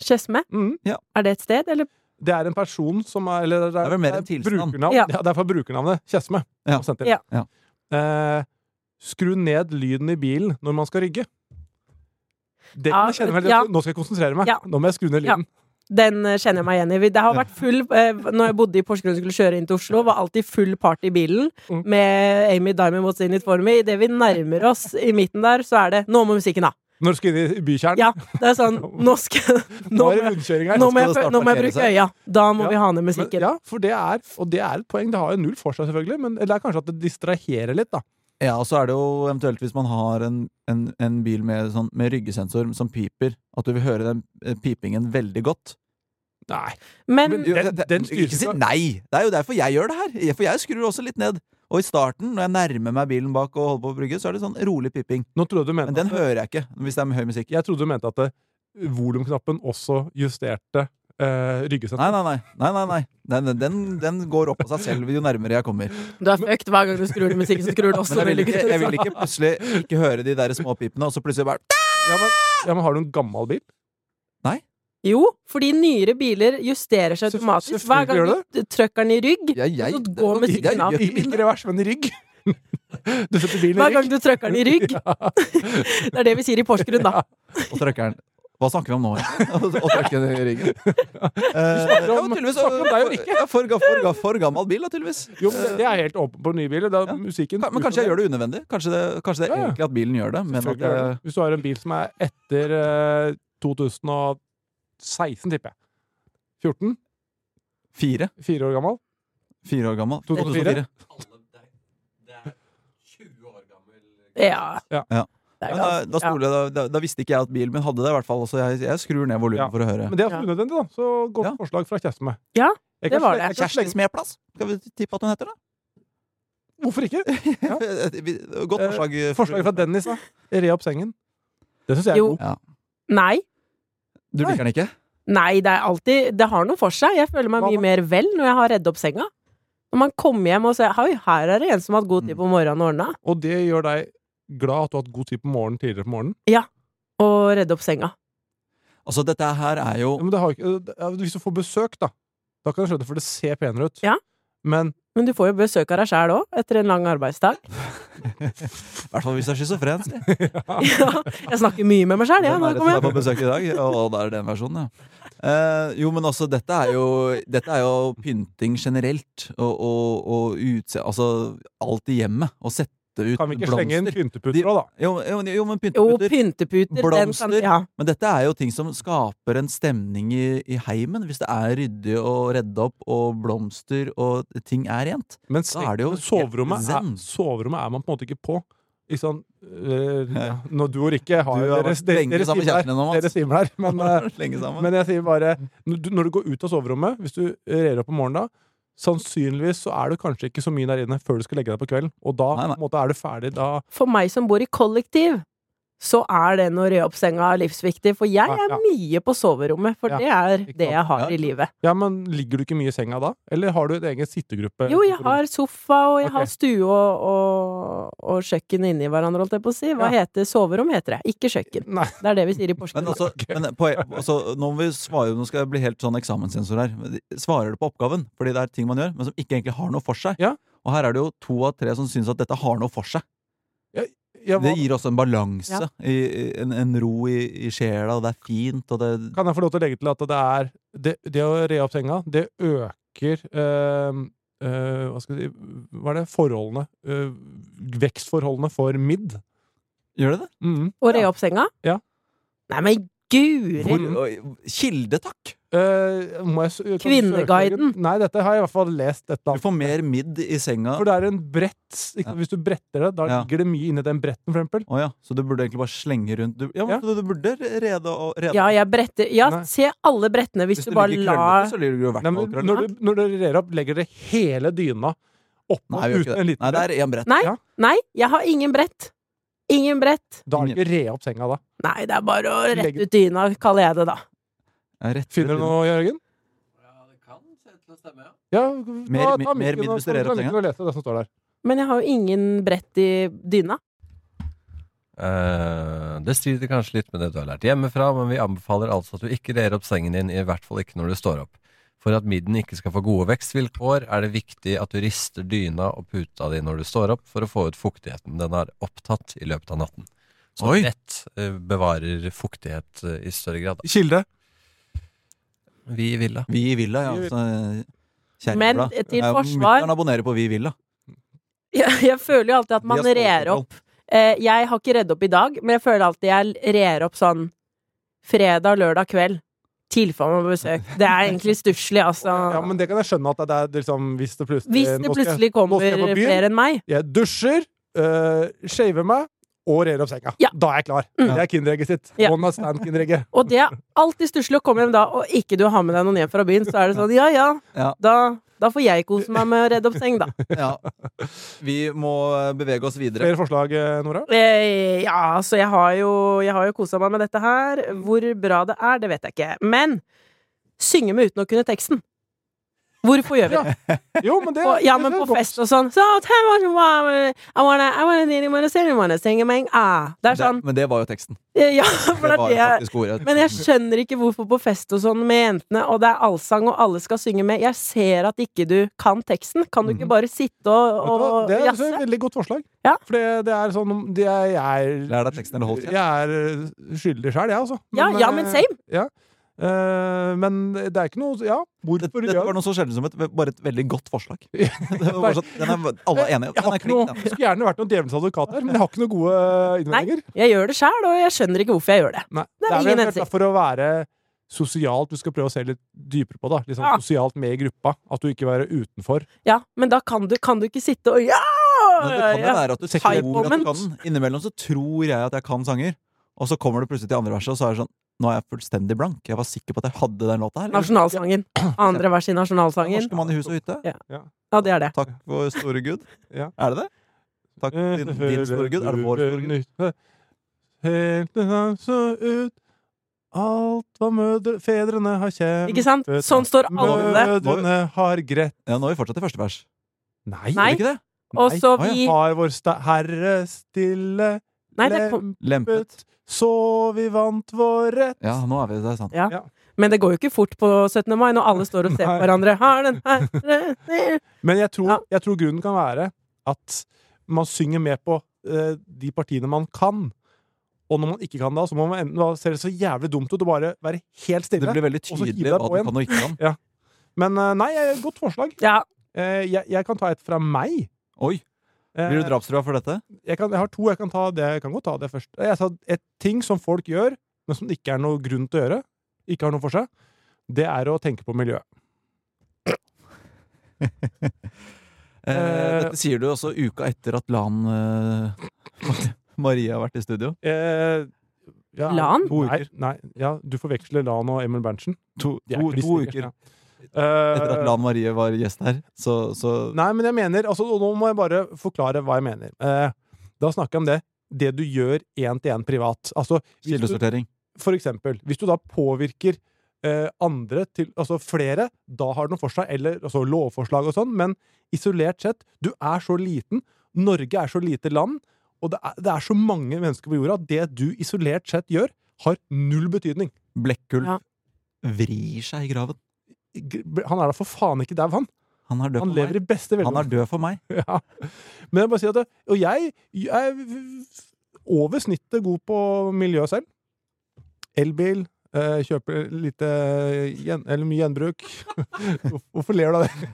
Skedsme.
Mhm.
Er det et sted, eller?
Det er en person som er Eller det
Det er vel mer en
det er
tilstand.
brukernavn-
Ja.
Ja. det er fra brukernavnet Tjøsme.
Ja.
som sendte
Ja.
Ja.
Eh, skru ned lyden i bilen når man skal rygge. Det
Ja,
jeg kjenner jeg veldig
ja.
Nå skal jeg konsentrere meg.
Ja.
Nå må jeg skru ned
Ja.
lyden.
Den eh, kjenner jeg meg igjen i. Vi- Det har vært full eh, Når jeg bodde i Porsgrunn og skulle kjøre inn til Oslo, var alltid full party i bilen
Mm.
med Amy Diamond What's In It For Me. Idet vi nærmer oss i midten der, så er det 'Nå må musikken av'.
Når du skal inn i bykjernen?
Ja, det er sånn Nå skal
Nå
Nå
er det
må jeg,
rundkjøring her.
nå må jeg,
Skal det
prø- nå må jeg
snart
bruke øya. Da må
Ja,
vi ha ned
Men,
musikken.
ja, for det er, og det er et poeng. Det har jo null for seg, selvfølgelig, men eller det er kanskje at det distraherer litt, da.
Ja, og så er det jo eventuelt hvis man har en, en, en bil med, sånn, med ryggesensor som piper, at du vil høre den eh, pipingen veldig godt.
Nei.
Men
Men- den- den styres
ikke si
jo-
nei! Det er jo derfor jeg gjør det her. Jeg- For jeg skrur også litt ned. Og i starten, når jeg nærmer meg bilen bak og holder på å brygge, så er det sånn rolig piping.
Nå trodde du mente
Men den
at,
hører jeg ikke hvis det er med høy musikk.
jeg trodde du mente at eh, volumknappen også justerte uh,
Nei, nei, nei. nei, nei, nei. Den, den- den, den går opp av seg selv jo nærmere jeg kommer.
du er fucked hver gang du skrur ned musikken, så skrur du også
Men jeg vil
ned
ikke, jeg vil
lykken.
ikke plutselig ikke høre de der småpipene, og så plutselig bare
Ja, men, ja, men har du en gammel bil?
Jo, fordi nyere biler justerer seg
Selvfø-
automatisk.
selvfølgelig
Hver gang
gjør
du trykker den i rygg,
Ja, jeg-
så går
det- det er
musikken av.
ryggen.
I- Ikke revers, men i rygg. Du setter bilen i
Hver gang
rygg.
du trykker den i rygg. Det er det vi sier i Porsgrunn, da.
Og trykker den. Hva snakker vi om nå? og trykker den i ryggen.
snakker om-
tydeligvis,
snakker om deg og
for-
Rikke.
ja, for, ga- for, ga- for gammel bil, da, tydeligvis.
Jo, men det, det er helt åpen på nye biler. Da,
Ja.
musikken
Ka- Men kanskje jeg gjør det unødvendig? Kanskje det, kanskje det er
Ja, ja.
egentlig at bilen gjør det, men at
Selvfølgelig gjør
jeg,
det. Hvis du har en bil som er etter eh, 2016, tipper jeg. 14?
Fire?
Fire år gammel?
Fire år gammel?
2004.
2004.
Ja.
Ja.
Ja.
Det er
Men da,
ganske-
da, stoler jeg, da, da visste ikke jeg at bilen min hadde det, i hvert fall. Så jeg, jeg skrur ned volumet
Ja.
for å høre.
Men det er
Ja.
også unødvendig, da. Så godt
Ja.
forslag fra Kjersti med.
Ja,
Jeg
det
kan
var
slenge- jeg
det.
kan
Kjersti
slenge-
Smeplass? Skal vi tippe at hun heter det?
Hvorfor ikke? Ja.
Godt
Eh,
forslag.
Forslaget fra Dennis, da. Re opp sengen. Det syns jeg er
Jo.
god.
Nei.
Du liker den ikke?
Nei, det er alltid Det har noe for seg. Jeg føler meg
Hva
mye
da?
mer vel når jeg har redd opp senga. Når man kommer hjem og ser Oi, her er det en som har hatt god
Mm.
tid på morgenen og ordna.
Og det gjør deg glad at du har hatt god tid på morgenen tidligere på morgenen.
Og redde opp senga.
Altså, dette her er jo
Ja, Men det har ikke, ja, hvis du får besøk, da, da kan jeg skjønne det, for det ser penere ut.
Ja.
Men
Men du får jo besøk av deg sjæl òg, etter en lang arbeidsdag.
I hvert fall hvis du er schizofren. si.
Ja, jeg snakker mye med meg sjæl, jeg.
Hvem
Nå
er det som
kommer
er
jeg.
på besøk i dag? Og da er det den versjonen, ja. Eh, jo, men altså, dette er jo, dette er jo pynting generelt. Og, og, og utse... Altså, alt i hjemmet. Å sette ut
kan vi ikke slenge inn
blomster.
pynteputter
De-
òg, da?
Jo, jo, jo, men
Jo,
pynteputer.
pynteputer. Den kan,
Blomster.
ja.
Men dette er jo ting som skaper en stemning i, i heimen. Hvis det er ryddig og redde opp, og blomster og ting er rent.
Men
Da er det jo
men soverommet,
helt
er,
zen.
soverommet er man på en måte ikke på. Ikke sånn eh, ja. Når du og Rikke har,
Du har
dere,
vært
dere,
lenge
dere,
sammen med
svimler,
kjæresten din nå, Mats.
dere svimler, men eh,
Lenge sammen.
Men jeg sier bare når du- Når du går ut av soverommet, hvis du rer opp om morgenen da, sannsynligvis så er du kanskje ikke så mye der inne før du skal legge deg på kvelden. Og da
Nei, nei.
på en måte, er du ferdig. Da
For meg som bor i kollektiv, så er den å re opp senga livsviktig. For jeg
Ja,
er
ja.
mye på soverommet, for
Ja,
det
ikke
er det jeg
Ja.
har i livet.
Ja, men ligger du ikke mye i senga da? Eller har du en egen sittegruppe?
Jo, jeg har sofa, og jeg
Ok.
har stue og, og, og kjøkken inni hverandre, holdt jeg på å si. Hva heter soverom, heter det. Ikke kjøkken.
Nei.
Det er det vi sier
Men
i Porsgrunn.
altså, men poe- altså nå, må vi svare, nå skal jeg bli helt sånn eksamenssensor her. Men de- Svarer du på oppgaven? Fordi det er ting man gjør, men som ikke egentlig har noe for seg.
Ja.
Og her er det jo to av tre som syns at dette har noe for seg.
Ja, hva-
Det gir også en balanse,
Ja.
i, i- en, en ro i, i sjela, og det er fint, og det
Kan jeg få lov til å legge til at det er Det, det å re opp senga, det øker eh, eh, hva skal jeg si Hva er det? Forholdene. eh, vekstforholdene for midd.
Gjør det det?
Mhm.
Og re opp senga?
Ja.
Nei, men guri!
Hvor, og- kilde, takk!
Eh, må jeg s- kan du søke
Kvinneguiden.
egen- Nei, dette har jeg i hvert fall lest. Dette.
Du får mer midd i senga.
For det er en brett ikke,
Ja.
Hvis du bretter det, da
Ja.
ligger det mye inni den bretten, for eksempel.
Å ja, så du burde egentlig bare slenge rundt du, ja, men Du,
Ja.
du burde rede og rede.
Ja, jeg bretter Ja,
Nei.
se alle brettene hvis,
Hvis
du
det
bare
ligger
lar
krøllete, så ligger du i hvert
Nei,
fall
men,
krøllete.
når, du, når du rer opp, legger dere hele dyna oppå
Nei, vi gjør
uten
ikke
en
det. Nei,
liten
det
brett.
er én brett.
Nei,
Ja.
nei, jeg har ingen brett. Ingen brett.
Da er det ikke re opp senga, da.
Nei, det er bare å
Legg-
rette ut dyna, kaller jeg det, da.
Ja, rett
Finner du
brett.
noe, Jørgen? Ja,
Mer
ta-
mi- mer
ta mikken
midd
og-
hvis du rer
ta
opp
mikken
senga.
og lese det som står der.
Men jeg har jo ingen brett i dyna.
Eh, det strider kanskje litt med det du har lært hjemmefra, men vi anbefaler altså at du ikke rer opp sengen din, i hvert fall ikke når du står opp. For at midden ikke skal få gode vekstvilkår, er det viktig at du rister dyna og puta di når du står opp, for å få ut fuktigheten den har opptatt i løpet av natten. Så
Oi.
rett eh, bevarer fuktighet eh, i større grad. da.
Kilde.
Vi i Villa.
Vi i Villa, ja.
Vi i-
Altså,
Men
Kjerringblad.
til
Ja,
forsvar
Mutter'n abonnerer på Vi i Villa.
Jeg, jeg føler jo alltid at man
Vi har
rer
stålkontroll.
opp eh, jeg har ikke redd opp i dag, men jeg føler alltid jeg rer opp sånn fredag, lørdag kveld. Tilfelle med besøk. Det er egentlig stusslig, altså.
Ja, men det kan jeg skjønne at det er liksom Hvis det plutselig
Hvis det
nå skal jeg-
plutselig
nå
kommer
skal jeg på byen.
flere enn meg.
Jeg dusjer, øh, shaver meg og rer opp senga.
Ja.
Da er jeg klar.
Mm.
Det er kinderegget sitt.
Ja.
One night stand kinderegget.
Og det er alltid stusslig å komme hjem da, og ikke du har med deg noen hjem fra byen. Så er det sånn, ja ja,
Ja.
da, da får jeg kose meg med å redde opp seng, da.
Ja. Vi må eh, bevege oss videre.
Flere forslag, eh, Nora?
Eh, ja, altså, jeg har jo, jeg har jo kosa meg med dette her. Hvor bra det er, det vet jeg ikke. Men synge med uten å kunne teksten. Hvorfor gjør vi det?
Jo, men det
På, ja, men
det er
på
godt.
fest og sånn. So tell me what you want. I wanna, I wanna, I wanna, sing, I wanna sing, man. Ah. Det er sånn.
Det, men det var jo teksten.
eh, Ja, for
Det
det
var
er det
jo
jeg
faktisk ordet.
Men jeg skjønner ikke hvorfor på fest og sånn med jentene, og det er allsang, og alle skal synge med. Jeg ser at ikke du kan teksten. Kan du ikke bare sitte
Vet du
og,
hva?
og
Det er altså et
jazze?
veldig godt forslag.
Ja.
For det, det er sånn det er, Jeg er,
Lær deg teksten eller hold kjeft.
jeg er øh, skyldig sjøl, jeg, altså.
Ja, ja, men
eh,
same.
Ja. Eh, men det er ikke noe Ja,
Dette,
hvorfor
dette
gjør
var noe så sjelden som et, bare et veldig godt forslag. Det var bare sånn, den er, alle er enige.
Jeg
Den
har
er
ikke noe,
klink, den.
skulle gjerne vært noen djevelens advokat her, men jeg har ikke noen gode eh, innvendinger.
Jeg gjør det sjæl, og jeg skjønner ikke hvorfor jeg gjør det.
Nei,
Det er
vel
ingen
eventuelt
hensikt.
da For å være sosialt, du skal prøve å se litt dypere på det. da. Litt sånn
Ja.
sosialt med i gruppa. At du ikke være utenfor.
Ja, men da kan du, kan du ikke sitte og ja!
Men det kan jo
ja.
være at du
Take
tror at
moment.
du kan den. Innimellom så tror jeg at jeg kan sanger, og så kommer du plutselig til andre verset, og så er det sånn Nå er jeg fullstendig blank. Jeg var sikker på at jeg hadde den låta her. Eller,
Nasjonalsangen. Andre vers i nasjonalsangen.
Norske mann i hus og hytte.
Ja, det er det.
Takk for store Gud.
Ja. Eh,
Er det det? Takk din, din store Gud. Er det vår store Gud?
Helt det han så ut Alt hva mødre, fedrene har kjempet
Ikke sant? Sånn står alle.
Mødrene har grett
Ja, nå har vi fortsatt i første vers.
Nei!
Er
Nei.
det ikke det?
Og så
Nei.
vi
Har vår sta- Herre stille
Nei, det kom
Lempet.
lempet, så vi vant vår rett.
Ja, nå er vi det. er sant.
Men det går jo ikke fort på 17. mai når alle står og ser på
Nei.
hverandre. Har den her
Men jeg tror,
Ja.
jeg tror grunnen kan være at man synger med på eh, de partiene man kan. Og når man ikke kan det, så må man enten da ser det så jævlig dumt ut og bare være helt
Det
stille.
blir veldig
Og så hiv
tydelig
deg
hva
på
du
igjen.
kan og ikke kan.
Men eh, nei, eh, godt forslag.
Ja,
Eh, jeg, jeg kan ta et fra meg.
Oi,
Eh,
blir du drapstrua for dette?
jeg, kan, jeg har to. Jeg kan, ta det. jeg kan godt ta det først. Eh, Jeg sa et ting som folk gjør, men som det ikke er noe grunn til å gjøre. Ikke har noe for seg. Det er å tenke på miljøet.
Eh, dette sier du også uka etter at Lan eh, Marie har vært i studio.
Eh, ja,
Lan?
To uker. Nei, nei, ja, du forveksler Lan og Emil Berntsen.
To,
De er
to,
ikke
to
misliker,
uker
ja. Eh,
etter at Lan Marie var gjest her. Så, så
Nei, men jeg mener altså, Og nå må jeg bare forklare hva jeg mener. Eh, da snakker jeg om det. Det du gjør én til én privat. Altså, hvis du,
kildesortering.
for eksempel, hvis du da påvirker eh, andre til Altså flere, da har det noe for seg. Eller altså, lovforslag og sånn. Men isolert sett, du er så liten. Norge er så lite land. Og det er, det er så mange mennesker på jorda. at Det du isolert sett gjør, har null betydning.
Blekkulf
Ja.
vrir seg i graven.
Han er da for faen ikke dau, han.
Han er død
Han
for meg.
lever i beste velgående.
Han er død for meg.
Ja. Men jeg bare sier at det, Og jeg, jeg er over snittet god på miljø selv. Elbil. Eh, kjøper lite gjen, Eller mye gjenbruk. Hvorfor ler du av det?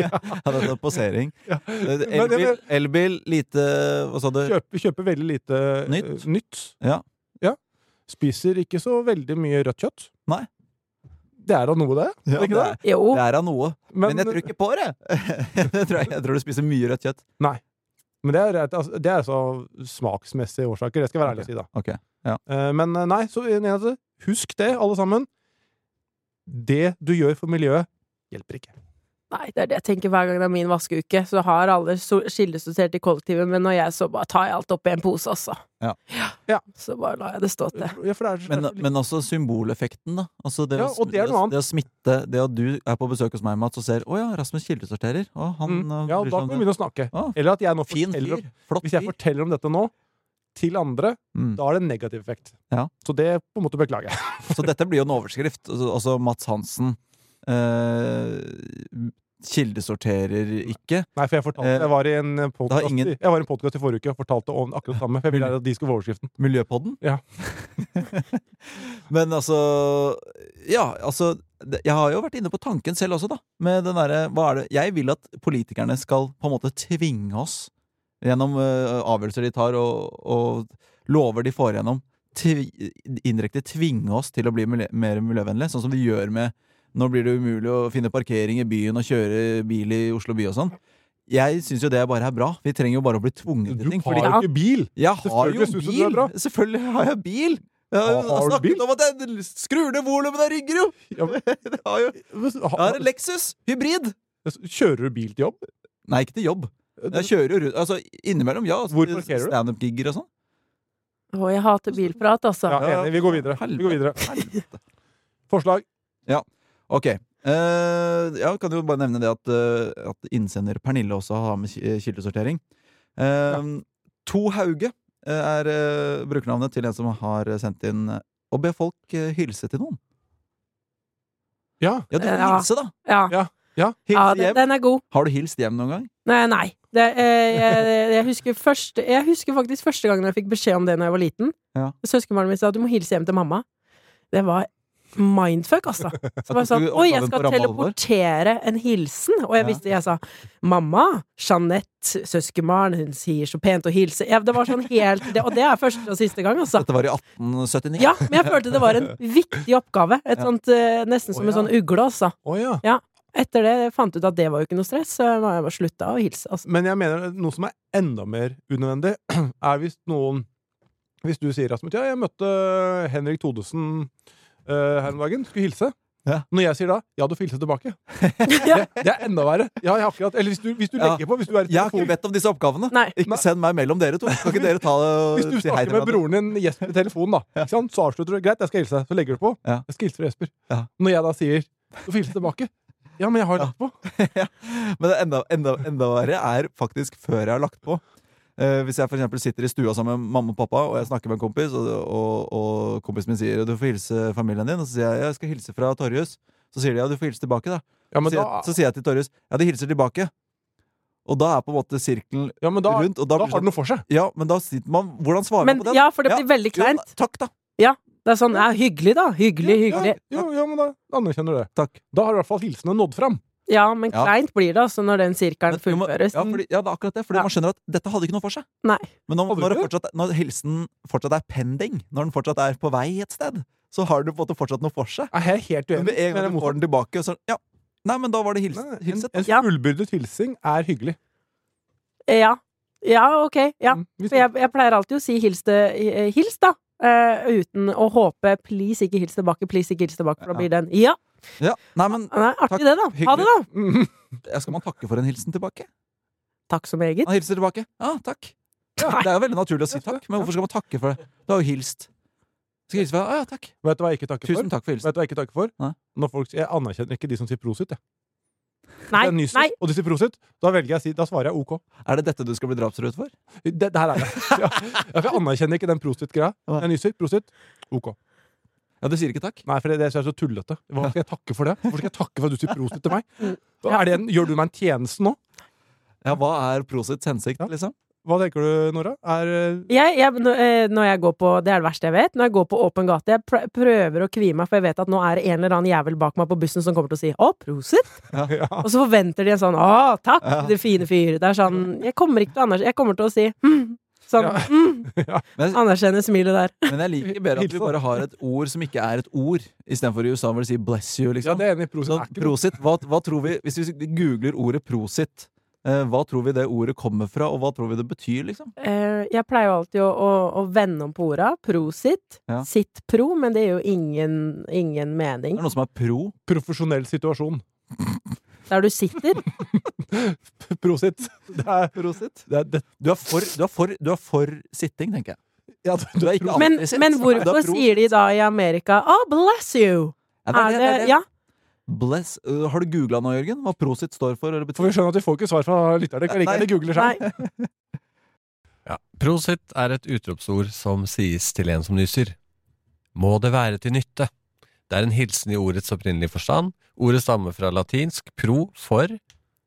Ja, dette er posering.
Ja.
Eh,
Men jeg
Elbil,
vil-
elbil, lite Hva sa du?
Kjøper, kjøper veldig lite eh,
Nytt.
nytt.
Ja.
Ja. Spiser ikke så veldig mye rødt kjøtt.
Nei.
Det er da noe, det.
Ja,
er det
det,
ikke
er,
jo.
det er av noe.
Men,
Men jeg tror ikke på det! jeg, tror, jeg tror du spiser mye rødt kjøtt.
men det er, altså, det er altså smaksmessige årsaker. Det skal jeg være ærlig og si, da.
Ok.
Eh, Men eh, nei, så en eneste. Husk det, alle sammen. Det du gjør for miljøet, hjelper ikke.
Nei, det er det jeg tenker hver gang det er min vaskeuke. Så har alle so- skillesortert i kollektivet, men når jeg så bare tar jeg alt opp i en pose, altså.
Ja.
Ja.
Så bare lar jeg det stå til.
Ja, for det er så-
Men,
det er så
men også symboleffekten, da. Altså det,
Ja,
å sm-
og det er noe annet.
det å smitte Det at du er på besøk hos meg, Mats, og ser 'Å ja, Rasmus kildesorterer'. Å, han
liten.
eh,
Mm. ja,
bryr
da
seg om
kan vi
det.
begynne å snakke.
Å,
Eller at jeg nå
fin
forteller om,
fyr. Flott
Hvis jeg
fyr.
forteller om dette nå til andre,
Mm.
da har det en negativ effekt.
Ja.
Så det på en måte beklager jeg.
Så dette blir jo en overskrift. Altså altså Mats Hansen eh, kildesorterer ikke.
Nei, for jeg fortalte
Eh,
Jeg var i en podcast
ingen-
i- jeg var i en podcast i forrige uke og fortalte om akkurat det samme. For jeg ville at de skulle få overskriften.
Miljøpodden.
Ja.
Men altså Ja, altså det- Jeg har jo vært inne på tanken selv også, da. Med den derre Hva er det Jeg vil at politikerne skal på en måte tvinge oss eh, gjennom eh, avgjørelser de tar og, og lover de får igjennom, tvi, indirekte tvinge oss til å bli miljø, mer miljøvennlige. Sånn som de gjør med Nå blir det umulig å finne parkering i byen og kjøre bil i Oslo by og sånn. Jeg syns jo det bare er bra. Vi trenger jo bare å bli tvunget
Du
til ting.
har
Fordi
jo ikke bil!
jeg har jo
Selvfølgelig synes du det er
bil!
bra.
Selvfølgelig har jeg bil! Jeg
Har-
har
har du
snakket
bil?
om at jeg skrur ned volumet, det rygger jo!
Ja, men, eh,
Jeg har jo jeg har en Lexus hybrid!
Kjører du bil til jobb?
Nei, ikke til jobb. Jeg kjører jo rundt Altså, innimellom, ja.
Hvor parkerer du?
Standup-gigger og sånn.
Å, jeg hater bilprat, altså.
Ja, enig. Vi går videre. Vi går videre.
Helvete.
Forslag.
Ok. Eh, jeg kan jo bare nevne det at, eh, at innsender Pernille også har med ki- kildesortering. Eh, To Hauge eh, er eh, brukernavnet til en som har sendt inn eh, å be folk eh, hilse til noen.
Ja.
Ja, du får
Ja.
hilse, da!
Ja, ja
Hilse
den,
hjem.
den er god.
Har du hilst hjem noen gang?
Nei, nei. Det, eh, jeg, jeg, husker først, jeg husker faktisk første gangen jeg fikk beskjed om det da jeg var liten.
Ja.
Søskenbarnet mitt sa du må hilse hjem til mamma. Det var mindfuck, altså. Så
At du
var jeg sånn,
skulle
Oi,
oppdage
jeg
den
skal
på ramme alvor.
teleportere en hilsen! Og jeg
Ja.
visste Jeg sa mamma, Jeanette, søskenbarn, hun sier så pent å hilse. Ja, det var sånn helt det, Og det er første og siste gang, altså.
Dette var i 1879.
Ja, men jeg følte det var en viktig oppgave. Et
Ja.
sånt, eh, nesten som
Å,
en
ja.
sånn ugle, altså.
Å ja.
Etter det jeg fant jeg ut at det var jo ikke noe stress, så jeg bare- jeg bare slutta å hilse. Altså.
Men jeg mener noe som er enda mer unødvendig, er hvis noen Hvis du sier, Rasmus, ja, jeg møtte øh, Henrik Thodesen eh, her om dagen, skulle hilse.
Ja.
Når jeg sier da, ja, du får hilse tilbake.
Ja.
Det, det er enda verre. Ja, jeg har akkurat, eller hvis du, hvis du
Ja.
legger på, hvis du er i
Jeg har ikke
telefon
bedt om disse oppgavene.
Nei.
Ikke
Nei.
send meg mellom dere to. Kan ikke dere ta det og
Hvis du
si hei
snakker
til
med
hverandre?
broren din Jesper i telefonen, da, ikke sant? så avslutter du greit, jeg skal hilse. Så legger du på.
Ja.
Jeg skal hilse fra Jesper.
Ja.
Når jeg da sier du får hilse tilbake Ja, men jeg har lagt på.
Men det enda, enda, enda verre er faktisk før jeg har lagt på. Eh, hvis jeg for eksempel sitter i stua sammen med mamma og pappa, og jeg snakker med en kompis, og, og, og kompisen min sier 'du får hilse familien din', og så sier jeg 'jeg skal hilse fra Torjus', så sier de 'ja, du får hilse tilbake', da.
Ja, men
sier,
da,
jeg- Så sier jeg til Torjus 'ja, de hilser tilbake'. Og da er på en måte sirkelen
ja, men da,
rundt, og da
da
blir det sånn-
har det noe for seg.
Ja, men da sitter man Hvordan svarer
Men,
man på den?
ja, for det
Ja.
blir veldig
Jo,
kleint.
takk, da.
Det er sånn ja, hyggelig, da. Hyggelig, hyggelig.
Ja, jo, ja, men da anerkjenner du det.
Takk.
Da har i hvert fall hilsene nådd fram.
Ja, men
Ja.
kleint blir det altså når den
Men
sirkelen
jo, men-
fullføres.
Ja, fordi, ja, det er akkurat det. Fordi
Ja.
man skjønner at dette hadde ikke noe for seg.
Nei.
Men når,
Hadde
når, det
ikke
fortsatt, når hilsen fortsatt er pending, når den fortsatt er på vei et sted, så har den på en måte fortsatt noe for seg.
Er jeg er helt
Men
uenig.
med en
men jeg
gang
er
du
motsatt.
får den tilbake, så Ja, nei, men da var det hils,
Nei, en,
hilset. da.
en
Ja.
fullbyrdet hilsing er hyggelig.
Ja. ja, ok. Ja.
Mm, hvis-
For jeg, jeg pleier alltid å si hils, til- eh, hils da. eh, uten å håpe 'please, ikke hils tilbake', 'please, ikke hils tilbake', for da blir den Ja!
Ja, nei, men
Nei, artig
Takk.
det, da. Ha det, da!
Mm,
ja, skal man takke for en hilsen tilbake?
Takk så meget.
Han hilser tilbake. Ja, takk. Ja, det er jo veldig naturlig å si takk, men hvorfor skal man takke for det? Du har jo hilst. Skal hilse fra Ja, ja, takk.
Vet du hva jeg ikke takker for?
Tusen takk for hilsen.
Vet du hva jeg ikke takker for?
Nei.
Når folk, jeg anerkjenner ikke de som sier prosit. Jeg.
Nei,
Jeg nyser,
nei.
Og de sier prosit. Da, velger jeg å si, da svarer jeg OK.
Er det dette du skal bli drapsrød for?
Det, det her er det. Ja, Ja, for jeg anerkjenner ikke den prosit-greia.
Nei.
Jeg nyser. Prosit. OK.
Ja, du sier ikke takk?
Nei, for det, det synes jeg er så tullete. Hva skal jeg takke for det? Hvorfor skal jeg takke for at du sier prosit til meg? Da Er det en, gjør du meg en tjeneste nå?
Ja, hva er prosits hensikt,
Ja.
liksom?
Hva tenker du, Nora? Er, eh,
Jeg, jeg, når, eh, når jeg går på, Det er det verste jeg vet. Når jeg går på åpen gate, jeg pr prøver å kvie meg, for jeg vet at nå er det en eller annen jævel bak meg på bussen som kommer til å si 'Å, prosit'.
ja.
Og så forventer de en sånn 'Å, takk, det fine fyr'. Det er sånn Jeg kommer ikke til å anerkjenne Jeg kommer til å si «Hm». Sånn
Ja.
«Hm».
Men-
Anerkjenne smilet der.
Men jeg liker bedre at vi bare har et ord som ikke er et ord, istedenfor i USA hvor de sier 'bless you'.
ja,
liksom.
det er enig. Prosit
Så
er ikke noe.
prosit, hva, hva tror vi, Hvis vi googler ordet prosit, eh, hva tror vi det ordet kommer fra, og hva tror vi det betyr? liksom?
Eh, jeg pleier jo alltid å, å, å vende om på orda. Prosit.
Ja.
Sitt pro, men det gir jo ingen, ingen
Det
mening.
er noe som er pro.
Profesjonell situasjon.
Der du sitter.
Prosit. Det er,
Prosit.
det er, det,
Du er for, du er for, du er for sitting, tenker jeg.
ja,
Du er ikke
prosit.
Men,
Alltid sitt.
men
Du
hvorfor
er pro.
sier de da i Amerika 'Oh, bless you'?
Ja, det
Er
det- det
det
det.
Ja.
Bless. eh, har du googla nå, Jørgen? Hva prosit står for? Eller betyr?
For vi skjønner at vi får ikke svar fra lytterne. Ikke
Nei.
like, de googler seg.
Nei.
Ja. Prosit er et utropsord som sies til en som nyser. Må det være til nytte? Det er en hilsen i ordets opprinnelige forstand. Ordet stammer fra latinsk pro for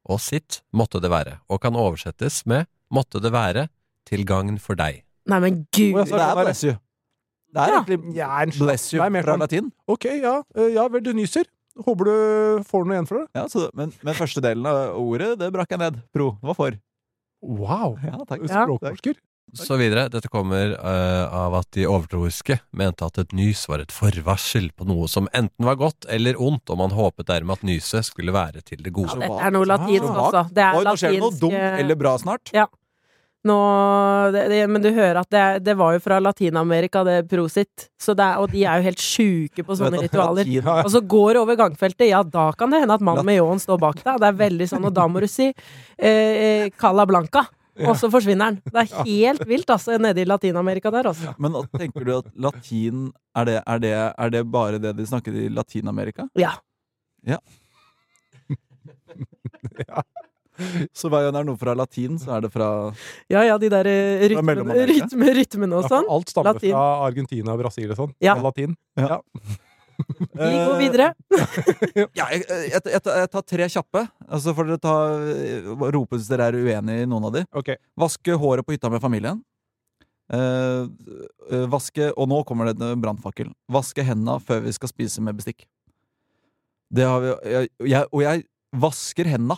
og sitt måtte det være, og kan oversettes med måtte det være til gagn for deg.
Nei, men
Å,
gud!
Det er bless you. Det er
Ja.
egentlig
Ja, en slags-
bless you
det er mer
fra
sånn-
latin.
Ok, ja. eh, ja vel, du nyser. Håper du får noe igjen for det.
Ja, så, men, men første delen av ordet det brakk jeg ned. Pro. Det var for.
Wow!
Ja, takk.
Ja.
Språkforsker.
Så videre. Dette kommer eh, av at de overtroiske mente at et nys var et forvarsel på noe som enten var godt eller ondt, og man håpet dermed at nyset skulle være til det gode.
Ja,
Dette er noe latinsk
Ah.
også. Det er
Oi, nå skjer det noe
latinsk,
dumt
eh,
eller bra snart.
Nå, det, det, men du hører at det, er- det var jo fra Latin-Amerika, det prosit. Så det er, og de er jo helt sjuke på sånne ritualer.
Latin.
Og så går det over gangfeltet, ja, da kan det hende at mannen med ljåen står bak deg. Det er veldig sånn, og da må du si eh, eh, cala blanca. Og så forsvinner den. Det er helt vilt, altså, nede i Latin-Amerika der, altså.
Men at- tenker du at latin er det, er, det, er det bare det de snakker i Latin-Amerika?
Ja.
Så hver gang det er noe fra latin, så er det fra
Ja ja, de der eh, rytmene
Mellom-Amerika.
rytme, rytmene og sånn.
Alt stammer
Latin.
fra Argentina og Brasil og sånn.
Ja.
All Latin.
Vi går
Eh,
videre.
Ja, jeg, jeg, jeg, jeg tar tre kjappe. Altså får dere ta, rope hvis dere er uenig i noen av de.
Eh, Ok.
Vaske håret på hytta med familien. Eh, eh, vaske Og nå kommer det en brannfakkel. Vaske henda før vi skal spise med bestikk. Det har vi jeg, jeg, Og jeg vasker henda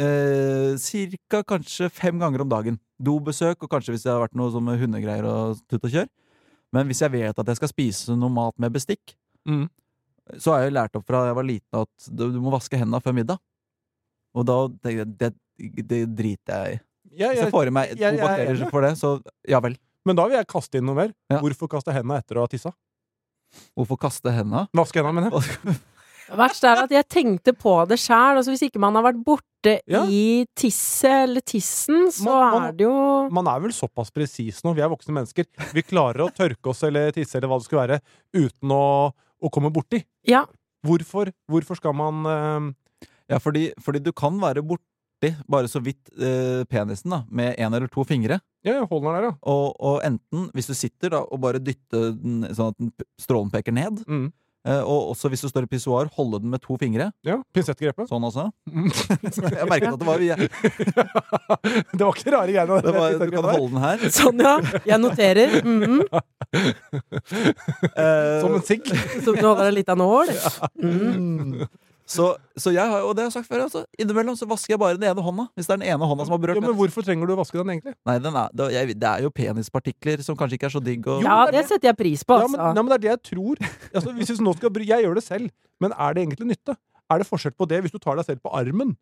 eh, cirka kanskje fem ganger om dagen. Dobesøk og kanskje hvis det har vært noe sånn med hundegreier og tut og kjør. Men hvis jeg vet at jeg skal spise noe mat med bestikk,
Mm.
så har jeg lært opp fra jeg var liten at du, du må vaske henda før middag. Og da tenker jeg det, det driter jeg i.
Ja,
Hvis jeg
jeg,
får i meg to
jeg- jeg er
bakterier
enig.
for det, så ja vel.
men da vil jeg kaste inn noe mer.
Ja.
Hvorfor kaste henda etter å ha tissa?
Hvorfor kaste henda?
Vaske henda, mener jeg.
Verst er at jeg tenkte på det sjæl. Altså, hvis ikke man har vært borte
Ja.
i tisset eller tissen, så
Man- man-
er det jo
Man er vel såpass presis nå. Vi er voksne mennesker. Vi klarer å tørke oss eller tisse eller hva det skulle være, uten å, å komme borti.
Ja.
Hvorfor, hvorfor skal man eh,
Ja, fordi, fordi du kan være borti bare så vidt eh, penisen da, med én eller to fingre.
Ja, ja, hold den der, ja.
Og, og enten, hvis du sitter da, og bare dytter den sånn at den p- strålen peker ned,
Mm.
eh, og også hvis du står i pissoar, holde den med to fingre.
ja. Pinsettgrepet.
Sånn også.
Mm.
Jeg merket at det var jeg,
det var ikke rare greiene.
det var, Du
pinsettgrepet
kan
der.
holde den her.
Sånn, ja. Jeg noterer. Mhm.
Eh,
Som en sigg.
Så du holder deg litt av nål? Mhm.
mm. så, så jeg har, og det har jeg sagt før, altså, innimellom så vasker jeg bare den ene hånda. Hvis det er den ene hånda som har
Ja,
berørt
men hvorfor trenger du å vaske den, egentlig?
Nei, den er, det, jeg, det er jo penispartikler som kanskje ikke er så digg å
Ja, det setter jeg pris på,
Ja, men,
altså.
nei, men det er det jeg tror. Altså, hvis vi nå skal bry, jeg gjør det selv, men er det egentlig nytte? Er det forskjell på det hvis du tar deg selv på armen?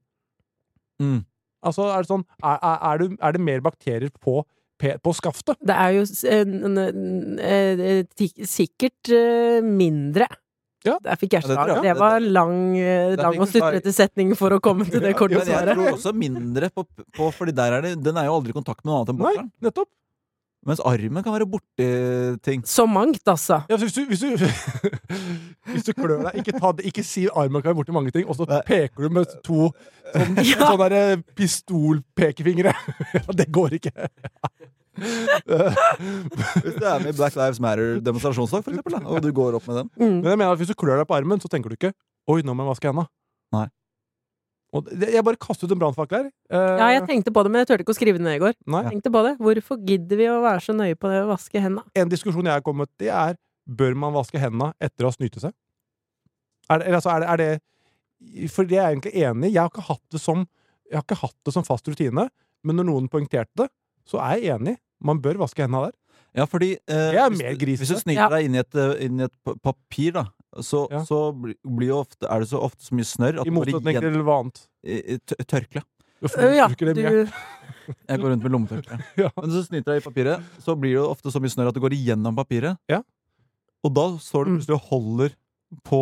Mm.
Altså, er, det sånn, er, er, er, du, er det mer bakterier på, pe- på skaftet?
Det er jo s- en- en- en- eh, ti- sikkert eh, mindre.
Ja.
Der fikk jeg
Ja, det tror
slag.
jeg.
Det var en lang, eh,
Der
lang
fikk
og
du slag.
sutrete setning for å komme til det korte
Men jeg
svaret.
tror også mindre på, på Fordi der er det, den er jo aldri i kontakt med noe annet enn
Nei,
bokseren.
nettopp.
Mens armen kan være borti ting.
Så mangt, altså.
Ja, så hvis, du, hvis, du, hvis du klør deg, ikke, ta det, ikke si armen kan være borti mange ting, og så
Nei.
peker du med to sånn,
Ja.
sånne der, eh, pistolpekefingre. Ja, det går ikke.
Hvis du er med i Black Lives Matter-demonstrasjonsdag, for eksempel, da, og du går opp med den.
Mm.
Men jeg mener at hvis du klør deg på armen, så tenker du ikke 'oi, nå må jeg vaske henda'.
Nei.
Og det, jeg bare kastet ut en brannfakkel her. Eh,
Ja, jeg tenkte på det, men jeg turte ikke å skrive det ned i går.
Nei.
Jeg Tenkte på det. Hvorfor gidder vi å være så nøye på det å vaske hendene?
En diskusjon jeg har kommet til, er bør man vaske henda etter å ha snytt seg? Er det, eller altså, er det, er det For det er jeg egentlig enig i. Jeg har ikke hatt det som Jeg har ikke hatt det som fast rutine, men når noen poengterte det, så er jeg enig. Man bør vaske henda der.
Ja, fordi eh,
Det er
hvis
mer
du- Hvis du
grisete.
snyter
Ja.
deg inn i et, eh, inn i et pa- papir, da, så,
Ja.
så bli- blir jo ofte, er det så ofte så mye snørr at
I
du må
motsetning
igjen
til hva annet.
i- i tø- tørkle.
Hvorfor
ja,
bruker det mye?
du,
Jeg går rundt med lommetørkle.
Ja.
Men så snyter jeg i papiret, så blir det jo ofte så mye snørr at det går igjennom papiret.
Ja.
Og da står du
Mm.
plutselig og holder på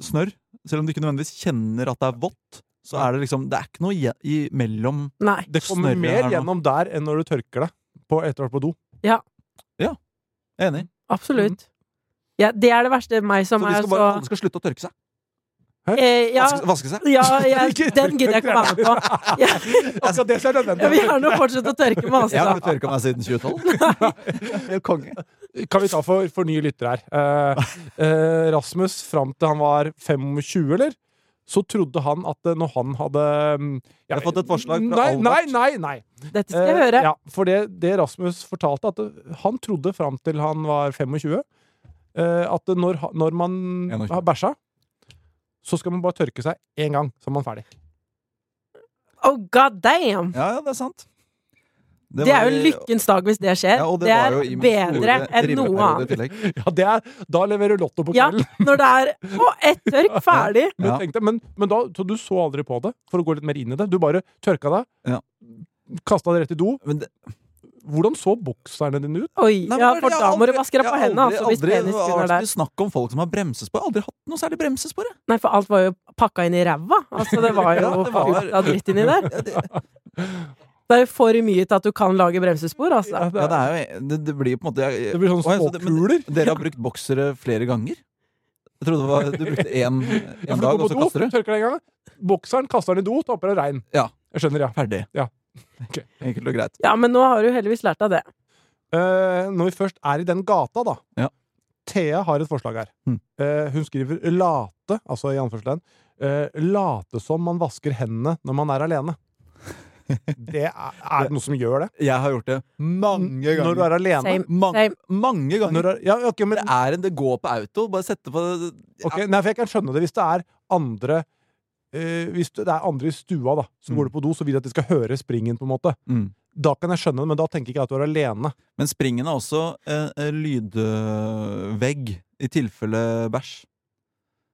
snørr, selv om du ikke nødvendigvis kjenner at det er vått. Så er det liksom Det er ikke noe igjen- imellom
nei.
Det kommer
snørret her
mer
nå.
gjennom der enn når du tørker deg på etter å ha vært på do.
Jeg er Enig.
Absolutt. Ja, det er det verste. Meg
Mm. Så
som
de
er
skal bare,
så
alle skal slutte å tørke seg.
eh, Ja,
Vaske, vaske seg.
ja jeg, den gidder jeg ikke å være med på. Jeg,
Akkurat det som er
jeg vil
nødvendig.
gjerne fortsette å tørke meg,
Jeg har ikke
altså.
tørka meg siden 2012. Jeg er konge.
Kan vi ta for, for nye lyttere her. Eh, eh, Rasmus, fram til han var 25, eller? Så trodde han at eh, når han hadde mm, ja,
Jeg har fått et forslag fra
nei, nei,
Albert.
nei, nei.
Dette skal jeg
Eh,
høre.
Ja, for det, det Rasmus fortalte, at eh, han trodde fram til han var 25 eh, at når, ha- når man
21.
har bæsja, så skal man bare tørke seg én gang, så er man ferdig.
Oh god damn!
Ja, ja, det er sant.
Det, er jo lykkens dag hvis det skjer.
Ja, og
det,
var
er
jo i min
bedre
store
enn noe
driveperiode i
annet.
tillegg.
Ja, det er, da leverer du Lotto på
Ja,
kvelden.
når det er Å, ett tørk, ferdig!
Men,
Ja.
tenk deg, men, men da, så du så aldri på det, for å gå litt mer inn i det. Du bare tørka deg,
Ja.
kasta det rett i do.
Men det-
Hvordan så bokserne dine ut?
Oi,
Nei, men
ja,
det er
for
det
da
jeg
må du
aldri-
vaske deg
jeg
på
har
hendene,
aldri-
altså, hvis
aldri-
penisskuren er
Det har
der.
vært snakk om folk som har bremsespor. Jeg har Aldri hatt noe særlig bremsespor. jeg.
Nei, for alt var jo pakka inn i ræva. Altså, det var jo
Ja, det var-
fullt av dritt inni der.
Ja, det,
Det er jo for mye til at du kan lage bremsespor, altså.
ja, det, er jo, det, det blir på en måte jeg,
Det blir sånne
Å, ja, så det- men
småkuler.
Dere har brukt boksere flere ganger? Jeg trodde det var, du brukte én
Ja, for
dag, og så
du går på
kaster
do,
du?
tørker deg en gang. Bokseren kaster den i do, tar på deg regn.
Ja.
Jeg skjønner, ja.
Ferdig.
Ja. Ok.
Enkelt og greit.
Ja, men nå har du heldigvis lært deg det.
Eh, når vi først er i den gata, da.
Ja.
Thea har et forslag her.
Mm.
Eh, hun skriver 'late', altså i anførselstegn, eh, 'late som man vasker hendene når man er alene'. Det er, er det noe som gjør det?
Jeg har gjort det mange ganger.
Når du er alene.
Same,
Mang-
same.
mange ganger.
Når du er, ja, ok, men,
det er en det går på auto. Bare sette på
ok, nei, for jeg kan skjønne det hvis det er andre eh, Hvis det er andre i stua da som
Mm.
går du på do, så vil jeg at de skal høre springen, på en måte.
Mm.
Da kan jeg skjønne det, men da tenker jeg ikke at du er alene.
Men springen er også eh, eh, lydvegg i tilfelle bæsj.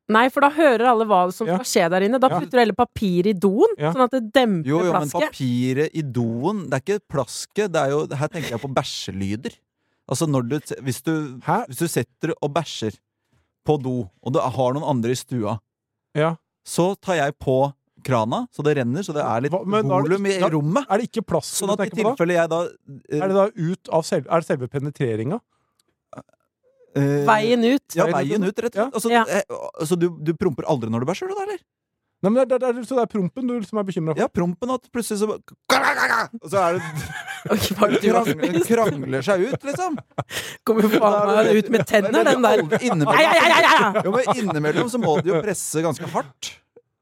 Nei, for da hører alle hva som
Ja.
skal skje der inne. Da
Ja.
putter du heller papir i doen,
Ja.
sånn at det demper
Jo, jo, men
plasket.
papiret i doen Det er ikke plasket. Det er jo, her tenker jeg på bæsjelyder. Altså når du, hvis du
Hæ?
Hvis du setter og bæsjer på do, og du har noen andre i stua,
Ja.
så tar jeg på krana, så det renner, så det er litt
Hva- men da er det-
volum i
da-
rommet.
Er det ikke plass?
Sånn at i
tenker på da?
tilfelle jeg da
Er det da ut av selve, er det selve penetreringa?
eh,
Veien ut.
Ja, veien ut, rett og
Ja.
slett. Altså,
Ja.
eh, Så du, du promper aldri når du bæsjer, du da, eller?
Nei, men det er, det er, så det er prompen du som er bekymra for?
Ja, prompen at plutselig så Og så er det
Ok, hva er det du har
krangler,
spist?
krangler seg ut, liksom.
Kommer faen meg ut med tenner, den der.
Aldri-
Ai, ai, ai,
Innimellom,
ai, ai.
jo, men innimellom så må du jo presse ganske hardt.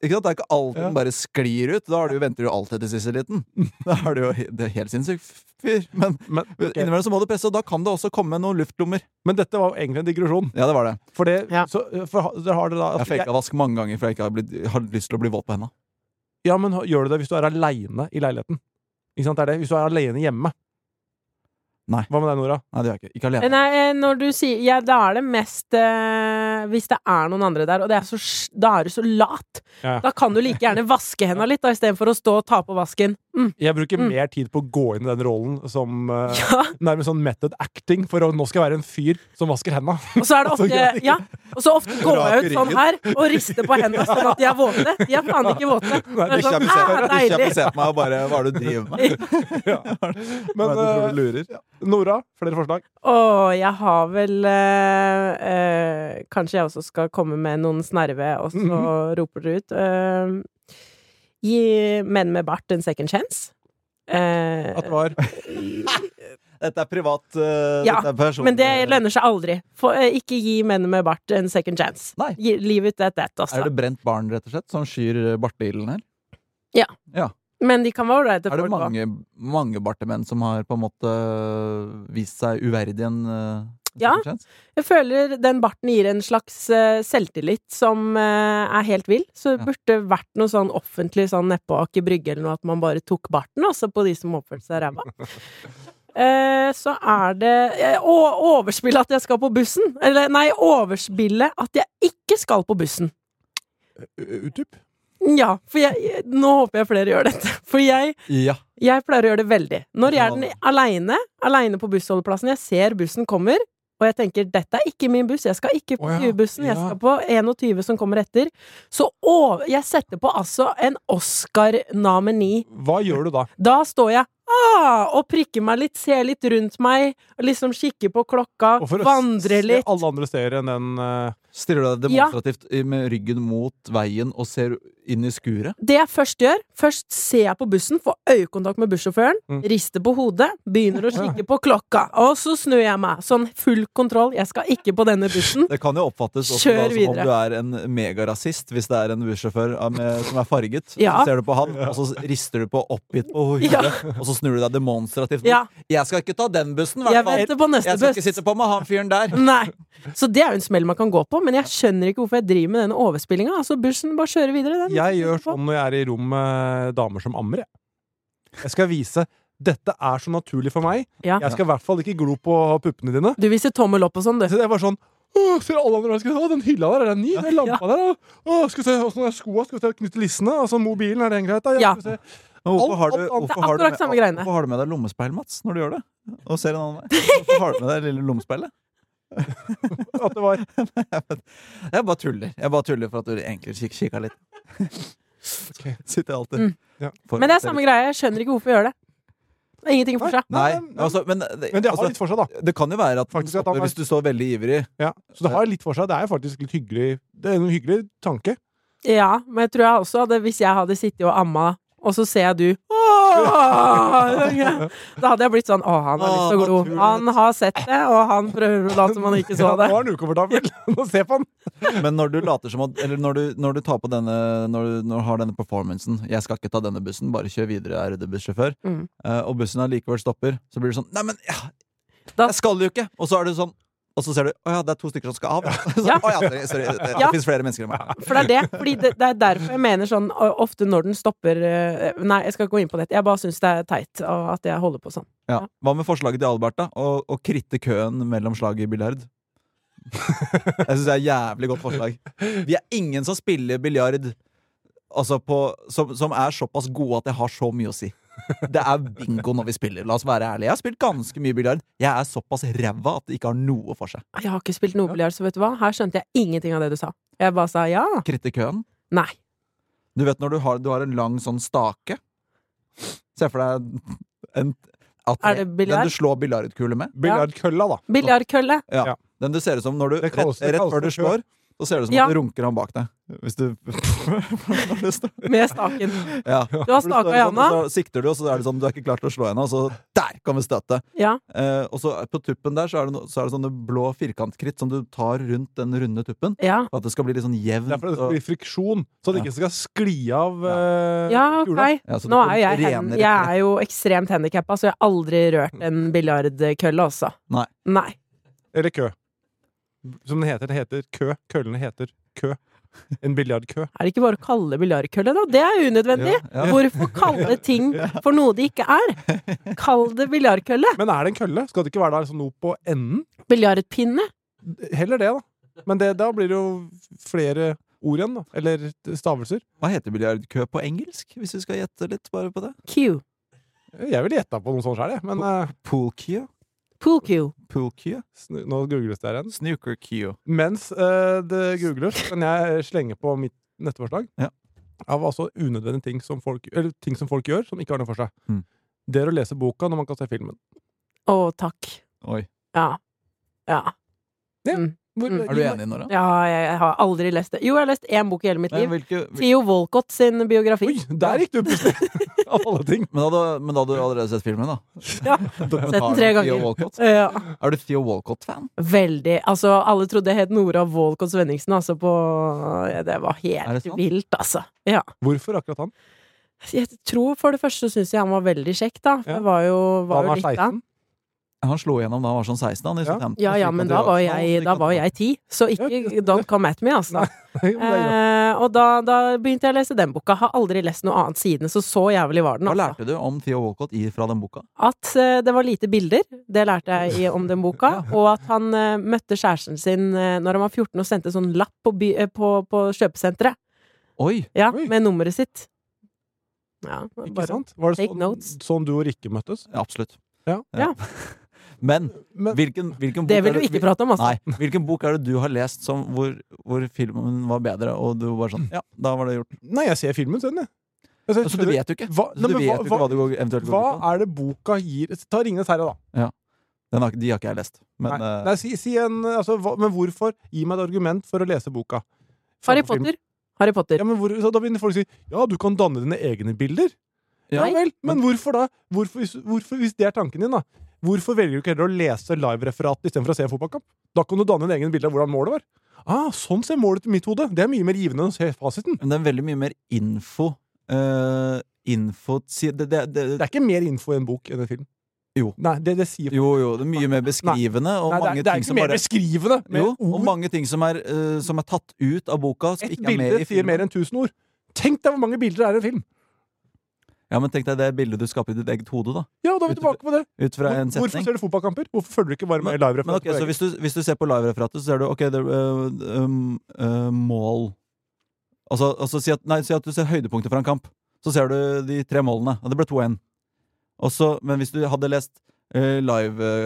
Ikke sant? Det er ikke alt den bare sklir ut. Da har du, venter du jo alltid til siste liten. Da er du jo he- det er helt sinnssyk fyr. Men
Men, ok.
innimellom så må du presse, og da kan det også komme noen luftlommer.
men dette var jo egentlig en digresjon.
Ja, det var det.
For det
Ja.
så, for, ha- dere har det da
Jeg
altså, jeg,
faka vask mange ganger, for jeg ikke har, blitt, har lyst til å bli våt på henda.
Ja, men gjør du det hvis du er aleine i leiligheten? Ikke sant, det er det? Hvis du er aleine hjemme?
Nei.
Hva med deg, Nora?
Nei, det gjør jeg ikke. Ikke alene.
Nei, eh, når du sier Ja, da er det mest eh, Hvis det er noen andre der, og det er så, sj- da er du så lat.
Ja.
Da kan du like gjerne vaske henda litt, da, istedenfor å stå og ta på vasken. Mm.
Jeg bruker
Mm.
mer tid på å gå inn i den rollen som eh,
Ja,
nærmest sånn method acting, for å, nå skal jeg være en fyr som vasker henda.
og så er det ofte Ja, og så ofte går jeg ut
Rake
sånn her og rister på henda sånn at de er våte. De er faen ikke våte. Det er
Bikkja
sånn,
mi ser-
ah,
bikkja mi
deilig.
ser på meg og bare Hva er det du driver med? Hva
Men
er det du tror
eh,
du lurer?
Nora, flere forslag?
Åh, jeg har vel eh, eh, Kanskje jeg også skal komme med noen snerve, og så
Mhm.
roper dere ut. Eh, gi menn med bart en second chance. Eh,
At det var
Dette er privat. eh,
Ja,
dette er personlig.
men det lønner seg aldri. For, eh, ikke gi menn med bart en second chance.
Nei.
Gi, leave it at that, altså.
Er det brent barn, rett og slett, som skyr bartbilen her?
Men de kan være ålreite
Er
folk
det
også.
mange, mange bartemenn som har på en måte øh, vist seg uverdig en eh,
Ja.
second chance?
Jeg føler den barten gir en slags eh, selvtillit som eh, er helt vill. Så
Ja.
det burde vært noe sånn offentlig sånn nedpå Aker Brygge eller noe, at man bare tok barten altså, på de som oppførte seg ræva. Eh, så er det eh, Å overspille at jeg skal på bussen! Eller nei, overspille at jeg ikke skal på bussen.
Utyp?
Ja, for jeg, jeg Nå håper jeg flere gjør dette. For jeg
Ja.
jeg pleier å gjøre det veldig. Når jeg er
Ja.
den aleine, aleine på bussholdeplassen, jeg ser bussen kommer, og jeg tenker 'dette er ikke min buss, jeg skal ikke på
Å ja,
20-bussen, jeg
ja.
skal på 21 som kommer etter', så å, jeg setter på altså en Oscar-nomini.
Hva gjør du da?
Da står jeg ah, og prikker meg litt, ser litt rundt meg, og liksom kikker på klokka,
Og for å
vandrer
se
litt.
Alle andre steder enn den eh,
Stiller du deg
Ja.
demonstrativt i- med ryggen mot veien og ser inn i skuret?
Det jeg først gjør, først ser jeg på bussen, får øyekontakt med bussjåføren,
Mm.
rister på hodet, begynner å kikke på klokka, og så snur jeg meg. Sånn full kontroll, jeg skal ikke på denne bussen.
Det kan jo oppfattes også
Kjør
da, som om
videre.
du er en megarasist, hvis det er en bussjåfør av- med- som er farget.
Ja.
Så ser du på han, og så rister du på oppgitt på hodet,
Ja.
og så snur du deg demonstrativt.
Ja,
'Jeg skal ikke ta den bussen, i hvert
jeg
fall.
venter på neste
Jeg skal ikke
buss.
sitte på med han fyren der.'
Nei. Så det er jo en smell man kan gå på, men jeg skjønner ikke hvorfor jeg driver med denne overspillinga. Altså, bussen bare kjører videre, den.
Jeg gjør sånn når jeg er i rom med damer som ammer, jeg. Jeg skal vise Dette er så naturlig for meg.
Ja.
Jeg skal i hvert fall ikke glo på puppene dine.
Du viser tommel opp og sånn, du.
Så jeg var sånn Åh, ser alle andre, skal, å, den hylla der, er den ny? Den lampa der, da. Åh, skal vi se åssen er skoa? Skal vi se knytte lissene? Altså, mobilen, er den greit, da?
Ja.
skal vi se.
Men hvorfor
Alt-
har du,
alt annet
er
hvorfor har du,
akkurat
med,
samme greiene.
hvorfor har du med deg lommespeil, Mats, når du gjør det? Og ser en annen vei? Hvorfor har du med deg lille lommespeilet?
At det var
Jeg bare tuller. Jeg bare tuller for at du egentlig kik kikka litt.
Ok.
Sitter jeg alltid
Mm.
Ja.
foran
Men det
dere.
er samme greie. Jeg skjønner ikke hvorfor vi gjør det. Det er Ingenting for seg.
Nei,
Nei, nei,
altså, men, det,
Men det har
altså,
litt for seg, da.
det kan jo være at, den
Faktisk at han
stopper
var-
hvis du står veldig ivrig
Ja. Så det har litt for seg. Det er faktisk litt hyggelig Det er en hyggelig tanke.
Ja, men jeg tror jeg også hadde Hvis jeg hadde sittet og amma, og så ser jeg du «Åh!» Da hadde jeg blitt sånn Å, han har lyst til å
Åh,
glo. Han har sett det, og han prøver å late som han ikke så
Ja,
det.
Nå er han ukomfortabel. Nå se på han!
Men når du later som at Eller når du, når du tar på denne når du, når du har denne performancen 'Jeg skal ikke ta denne bussen, bare kjør videre, jeg er ryddebussjåfør',
Mm.
eh, og bussen allikevel stopper, så blir du sånn 'Nei, men ja,
Da-
jeg skal jo ikke!' Og så er du sånn og så ser du å ja, det er to stykker som skal av. Så,
Ja.
«Å ja, sorry, sorry, det, det
Ja.
finnes flere mennesker enn meg.
For det er det. Fordi det, det er derfor jeg mener sånn ø, ofte når den stopper ø, Nei, jeg skal ikke gå inn på dette. Jeg bare syns det er teit ø, at jeg holder på sånn.
Ja. Hva med forslaget til Albert, da? Å, å kritte køen mellom slag i biljard? Jeg syns det er et jævlig godt forslag. Vi er ingen som spiller biljard altså på- som, som er såpass gode at det har så mye å si. Det er bingo når vi spiller. La oss være ærlige. Jeg har spilt ganske mye biljard. Jeg er såpass ræva at det ikke har noe for seg.
Jeg har ikke spilt noe biljard, så vet du hva? Her skjønte jeg ingenting av det du sa. Jeg bare sa ja.
Kritte køen.
Nei.
Du vet når du har, du har en lang sånn stake? Se for deg en at
Er det biljard?
Den du slår biljardkule med.
Biljardkølla, da.
Biljardkølle.
Ja.
Ja.
Den du ser ut som når du
Det
rett,
kalles- det
rett
kalles
før du
det kø.
slår, så ser det ut som
Ja.
at du runker han bak deg. Hvis du har lyst til.
Med staken.
Ja.
Du har
Hvor står
staka i
sånn,
handa.
og Så sikter du, og så er det sånn du er ikke klar til å slå ennå, og så der kommer støtet.
Ja.
Eh, og så på tuppen der så er det, no, så er det sånne blå firkantkritt som du tar rundt den runde tuppen.
Ja.
For at det skal bli litt sånn jevnt.
Det er for det
og-
blir friksjon, så det ikke skal skli av eh,
Ja,
kula.
ok.
Ja, så du
Nå er jo jeg,
får
hen,
renere
jeg er jo ekstremt handikappa, så jeg har aldri rørt en biljardkølle også.
Mm. Nei.
Nei.
Eller kø. Som den heter. Det heter kø. Køllene heter kø. En biljardkø.
Er det ikke bare å kalle det biljardkølle, da? Det er jo unødvendig!
Ja, ja.
Hvorfor kalle ting for noe det ikke er? Kall det biljardkølle!
Men er det en kølle? Skal det ikke være der sånn noe på enden?
Biljardpinne!
Heller det, da. Men det, da blir det jo flere ord igjen, da. Eller stavelser.
Hva heter biljardkø på engelsk, hvis vi skal gjette litt bare på det?
Q.
Jeg ville gjetta på noe sånt sjøl, jeg. Men eh,
Pool-queue?
Pool Q.
Pool-queue?
snu- nå googles det her igjen.
Snooker-queue.
Mens eh, det googles, kan jeg slenge på mitt nettforslag.
Ja.
Av altså unødvendige ting som folk, eller ting som folk gjør, som ikke har noe for seg.
Mm.
Det er å lese boka når man kan se filmen.
Å, takk.
Oi.
Ja. Ja.
Hvor,
Mm.
Er du enig, Nora?
ja. Jeg har aldri lest det. Jo, jeg har lest én bok i hele mitt
Men,
liv.
hvilke, hvil-
Theo Walcott sin biografi.
Oi, der gikk du plutselig! Av alle ting.
men, hadde, men da hadde du allerede sett filmen, da?
Ja.
Dokumentaren
Sett den
om
tre
Theo
ganger.
Walcott.
Ja.
Er du Theo Walcott-fan?
Veldig. Altså, alle trodde jeg het Nora Walcott Svenningsen, altså, på ja, Det var
Er
helt
det sant?
vilt, altså. Ja.
Hvorfor akkurat han?
Jeg tror for det første syns jeg han var veldig kjekk, da. For
Ja.
jeg var jo,
Da
var
han
jo
var
litt da.
16?
Han slo igjennom da han var sånn 16. Han, i
Ja.
Southampton,
Ja ja,
slik
men
at
da
det
var jeg,
slik
da
at
var
det
jeg ti, så ikke don't come at me, altså.
Det er greit.
Eh, og da, da begynte jeg å lese den boka. Har aldri lest noe annet siden, så så jævlig var den.
Hva
Altså.
lærte du om Theo Walcott i, fra den boka?
At eh, det var lite bilder, det lærte jeg i, om den boka. Og at han eh, møtte kjæresten sin uh, når han var 14 og sendte sånn lapp på, by, eh, på, på kjøpesenteret.
Oi!
Ja,
Oi.
med nummeret sitt. Ja,
Ikke
bare
sant? Var det
take
sånn,
notes.
sånn du og Rikke møttes?
Ja, Absolutt.
Ja.
Ja.
Men
Men
hvilken, hvilken bok
Det vil
er
du ikke prate om, altså.
Nei. Hvilken bok er det du har lest som, hvor, hvor filmen var bedre, og du var sånn Ja, da var det gjort.
Nei, jeg ser filmen selv, jeg. Altså, jeg
Så du
skjønner-
vet jo ikke.
Hva,
Så
nei,
du
men
vet jo
hva,
ikke hva
hva,
du går- eventuelt
hva
går ut på.
er det boka gir Ta 'Ringenes herre', da.
Den har, ikke- de har ikke jeg lest. Men
Nei,
eh,
nei, si, si en, altså, hva, men hvorfor? Gi meg et argument for å lese boka.
Harry
Framfor film.
Potter. Harry Potter.
Ja, men hvor, så da begynner folk å si 'ja, du kan danne dine egne bilder'.
Ja.
Ja vel, men hvorfor da? Hvorfor, hvis- hvorfor, hvis det er tanken din, da? Hvorfor velger du ikke heller å lese livereferatet istedenfor å se en fotballkamp? Da kan du danne en egen bilde av hvordan målet var. Ah, sånn ser målet ut i mitt hode! Det er mye mer givende enn å se fasiten.
men det er veldig mye mer info. eh, info si- det, det, det,
Det er ikke mer info i en bok enn en film.
Jo.
Nei, det, det sier
Jo, jo. Det er mye mer beskrivende, og
Nei, det,
mange
er, det er
ting
ikke
som
mer
bare
beskrivende. Med
jo, og
ord.
mange ting som er, eh, som er tatt ut av boka, som
Et
ikke er med
bilde
i
sier
filmen.
mer enn tusen ord. Tenk deg hvor mange bilder det er i en film!
Ja, men tenk deg det bildet du skaper i ditt eget hode, da.
Ja, da er vi tilbake på det!
Ut fra en
Hvorfor
setning.
ser du fotballkamper? Hvorfor følger du ikke bare med i
Men ok,
live-referatet?
så hvis du, hvis du ser på live-referatet, så ser du ok, det, øh, øhm, øh, mål Altså, altså si, at, nei, si at du ser høydepunktet fra en kamp. Så ser du de tre målene. Og det ble 2-1. Og så- Men hvis du hadde lest øh,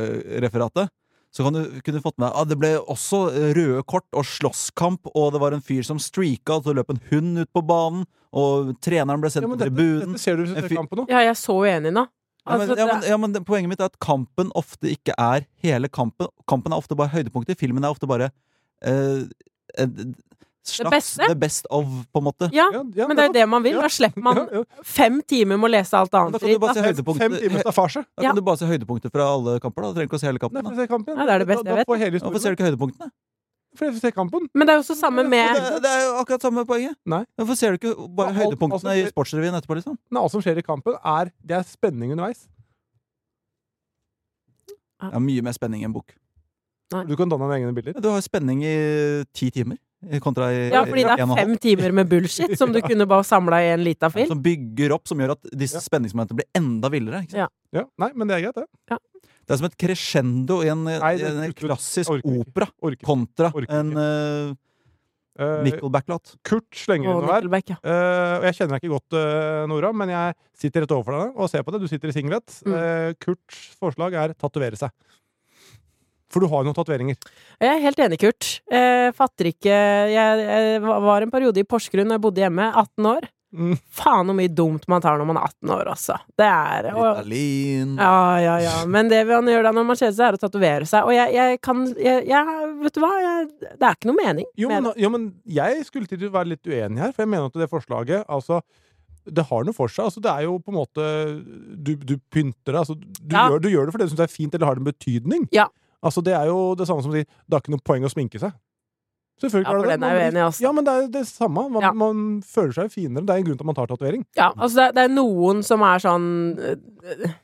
live-referatet, så kan du, kunne du fått med deg ah, Det ble også røde kort og slåsskamp, og det var en fyr som streaka, og så løp en hund ut på banen, og treneren ble sendt
ja, men
på
dette,
tribunen
dette ser du hvis du
En
ser
fyr-
kampen nå.
Ja, jeg er så uenig nå.
ja, men,
Altså,
ja,
det-
men, ja, men det- Poenget mitt er at kampen ofte ikke er hele kampen. Kampen er ofte bare høydepunkter. Filmen er ofte bare eh, en slags
beste?
the best of, på en måte.
Ja,
Ja, ja,
men det er jo det man vil.
Ja.
Da slipper man
Ja, ja.
fem timer med å lese alt
Men Da
annet
kan du
dritt.
bare se
da.
høydepunkter,
Fem timers staffasje.
da kan du bare se høydepunkter fra alle kamper. Da. Du trenger ikke å se hele
Nei,
kampen.
for
Da.
å se kampen.
Ja, det er det beste
da,
jeg
da
vet.
får hele
Hvorfor ser
historien.
du ikke høydepunktene?
For å se kampen.
Men det er jo så samme
Det,
med
er- det er jo akkurat samme poenget.
Nei.
Hvorfor ser du ikke bare
Alt- altså, alt
høydepunktene
som
i
skjer-
Sportsrevyen etterpå? liksom?
Men alt som skjer i kampen, er, det er spenning underveis.
Det er mye mer spenning i en bok.
Du kan danne dine egne bilder.
Du har spenning i ti timer kontra i
Ja, fordi
en
det er
og en halv.
fem timer med bullshit som du kunne bare samla i en lita film.
Som bygger opp, som gjør at disse
Ja.
spenningsmomentene blir enda villere. Ikke sant?
Ja, nei, men det er greit, det.
Det er som et crescendo i en,
Nei, det-
i en
slutt.
klassisk
Orker ikke.
opera
Orker.
kontra
Orker
en uh,
Eh,
Nickelback-låt.
Kurt slenger
Og
under her.
Nickelback, ja.
Eh, og jeg kjenner deg ikke godt, eh, Nora, men jeg sitter rett overfor deg og ser på det. Du sitter i singlet.
Mm.
Eh, Kurts forslag er tatovere seg. For du har jo noen tatoveringer.
Jeg er helt enig, Kurt. Jeg fatter ikke jeg, jeg var en periode i Porsgrunn da jeg bodde hjemme, 18 år.
Mm.
Faen så mye dumt man tar når man er 18 år, altså. Det er og,
Ritalin
Ja, ja, ja. Men det man gjør da når man kjeder seg, er å tatovere seg. Og jeg, jeg kan jeg, jeg, Vet du hva? Jeg, det er ikke noe mening.
Jo,
med
men,
det.
jo, men jeg skulle til å være litt uenig her, for jeg mener at det forslaget altså, det har noe for seg. Altså, det er jo på en måte Du, du pynter deg. Altså, du,
Ja.
gjør, du gjør det fordi du syns det er fint, eller har det en betydning.
Ja.
Altså, det er jo det samme som å si det er ikke noe poeng å sminke seg. Selvfølgelig
Ja,
er
for
det det.
den er jeg
Man blir-
uenig i, altså.
Ja, men det er jo det samme. Man,
Ja.
man føler seg jo finere. Det er en grunn til at man tar tatovering.
Ja, altså det, er- det er noen som er sånn øh,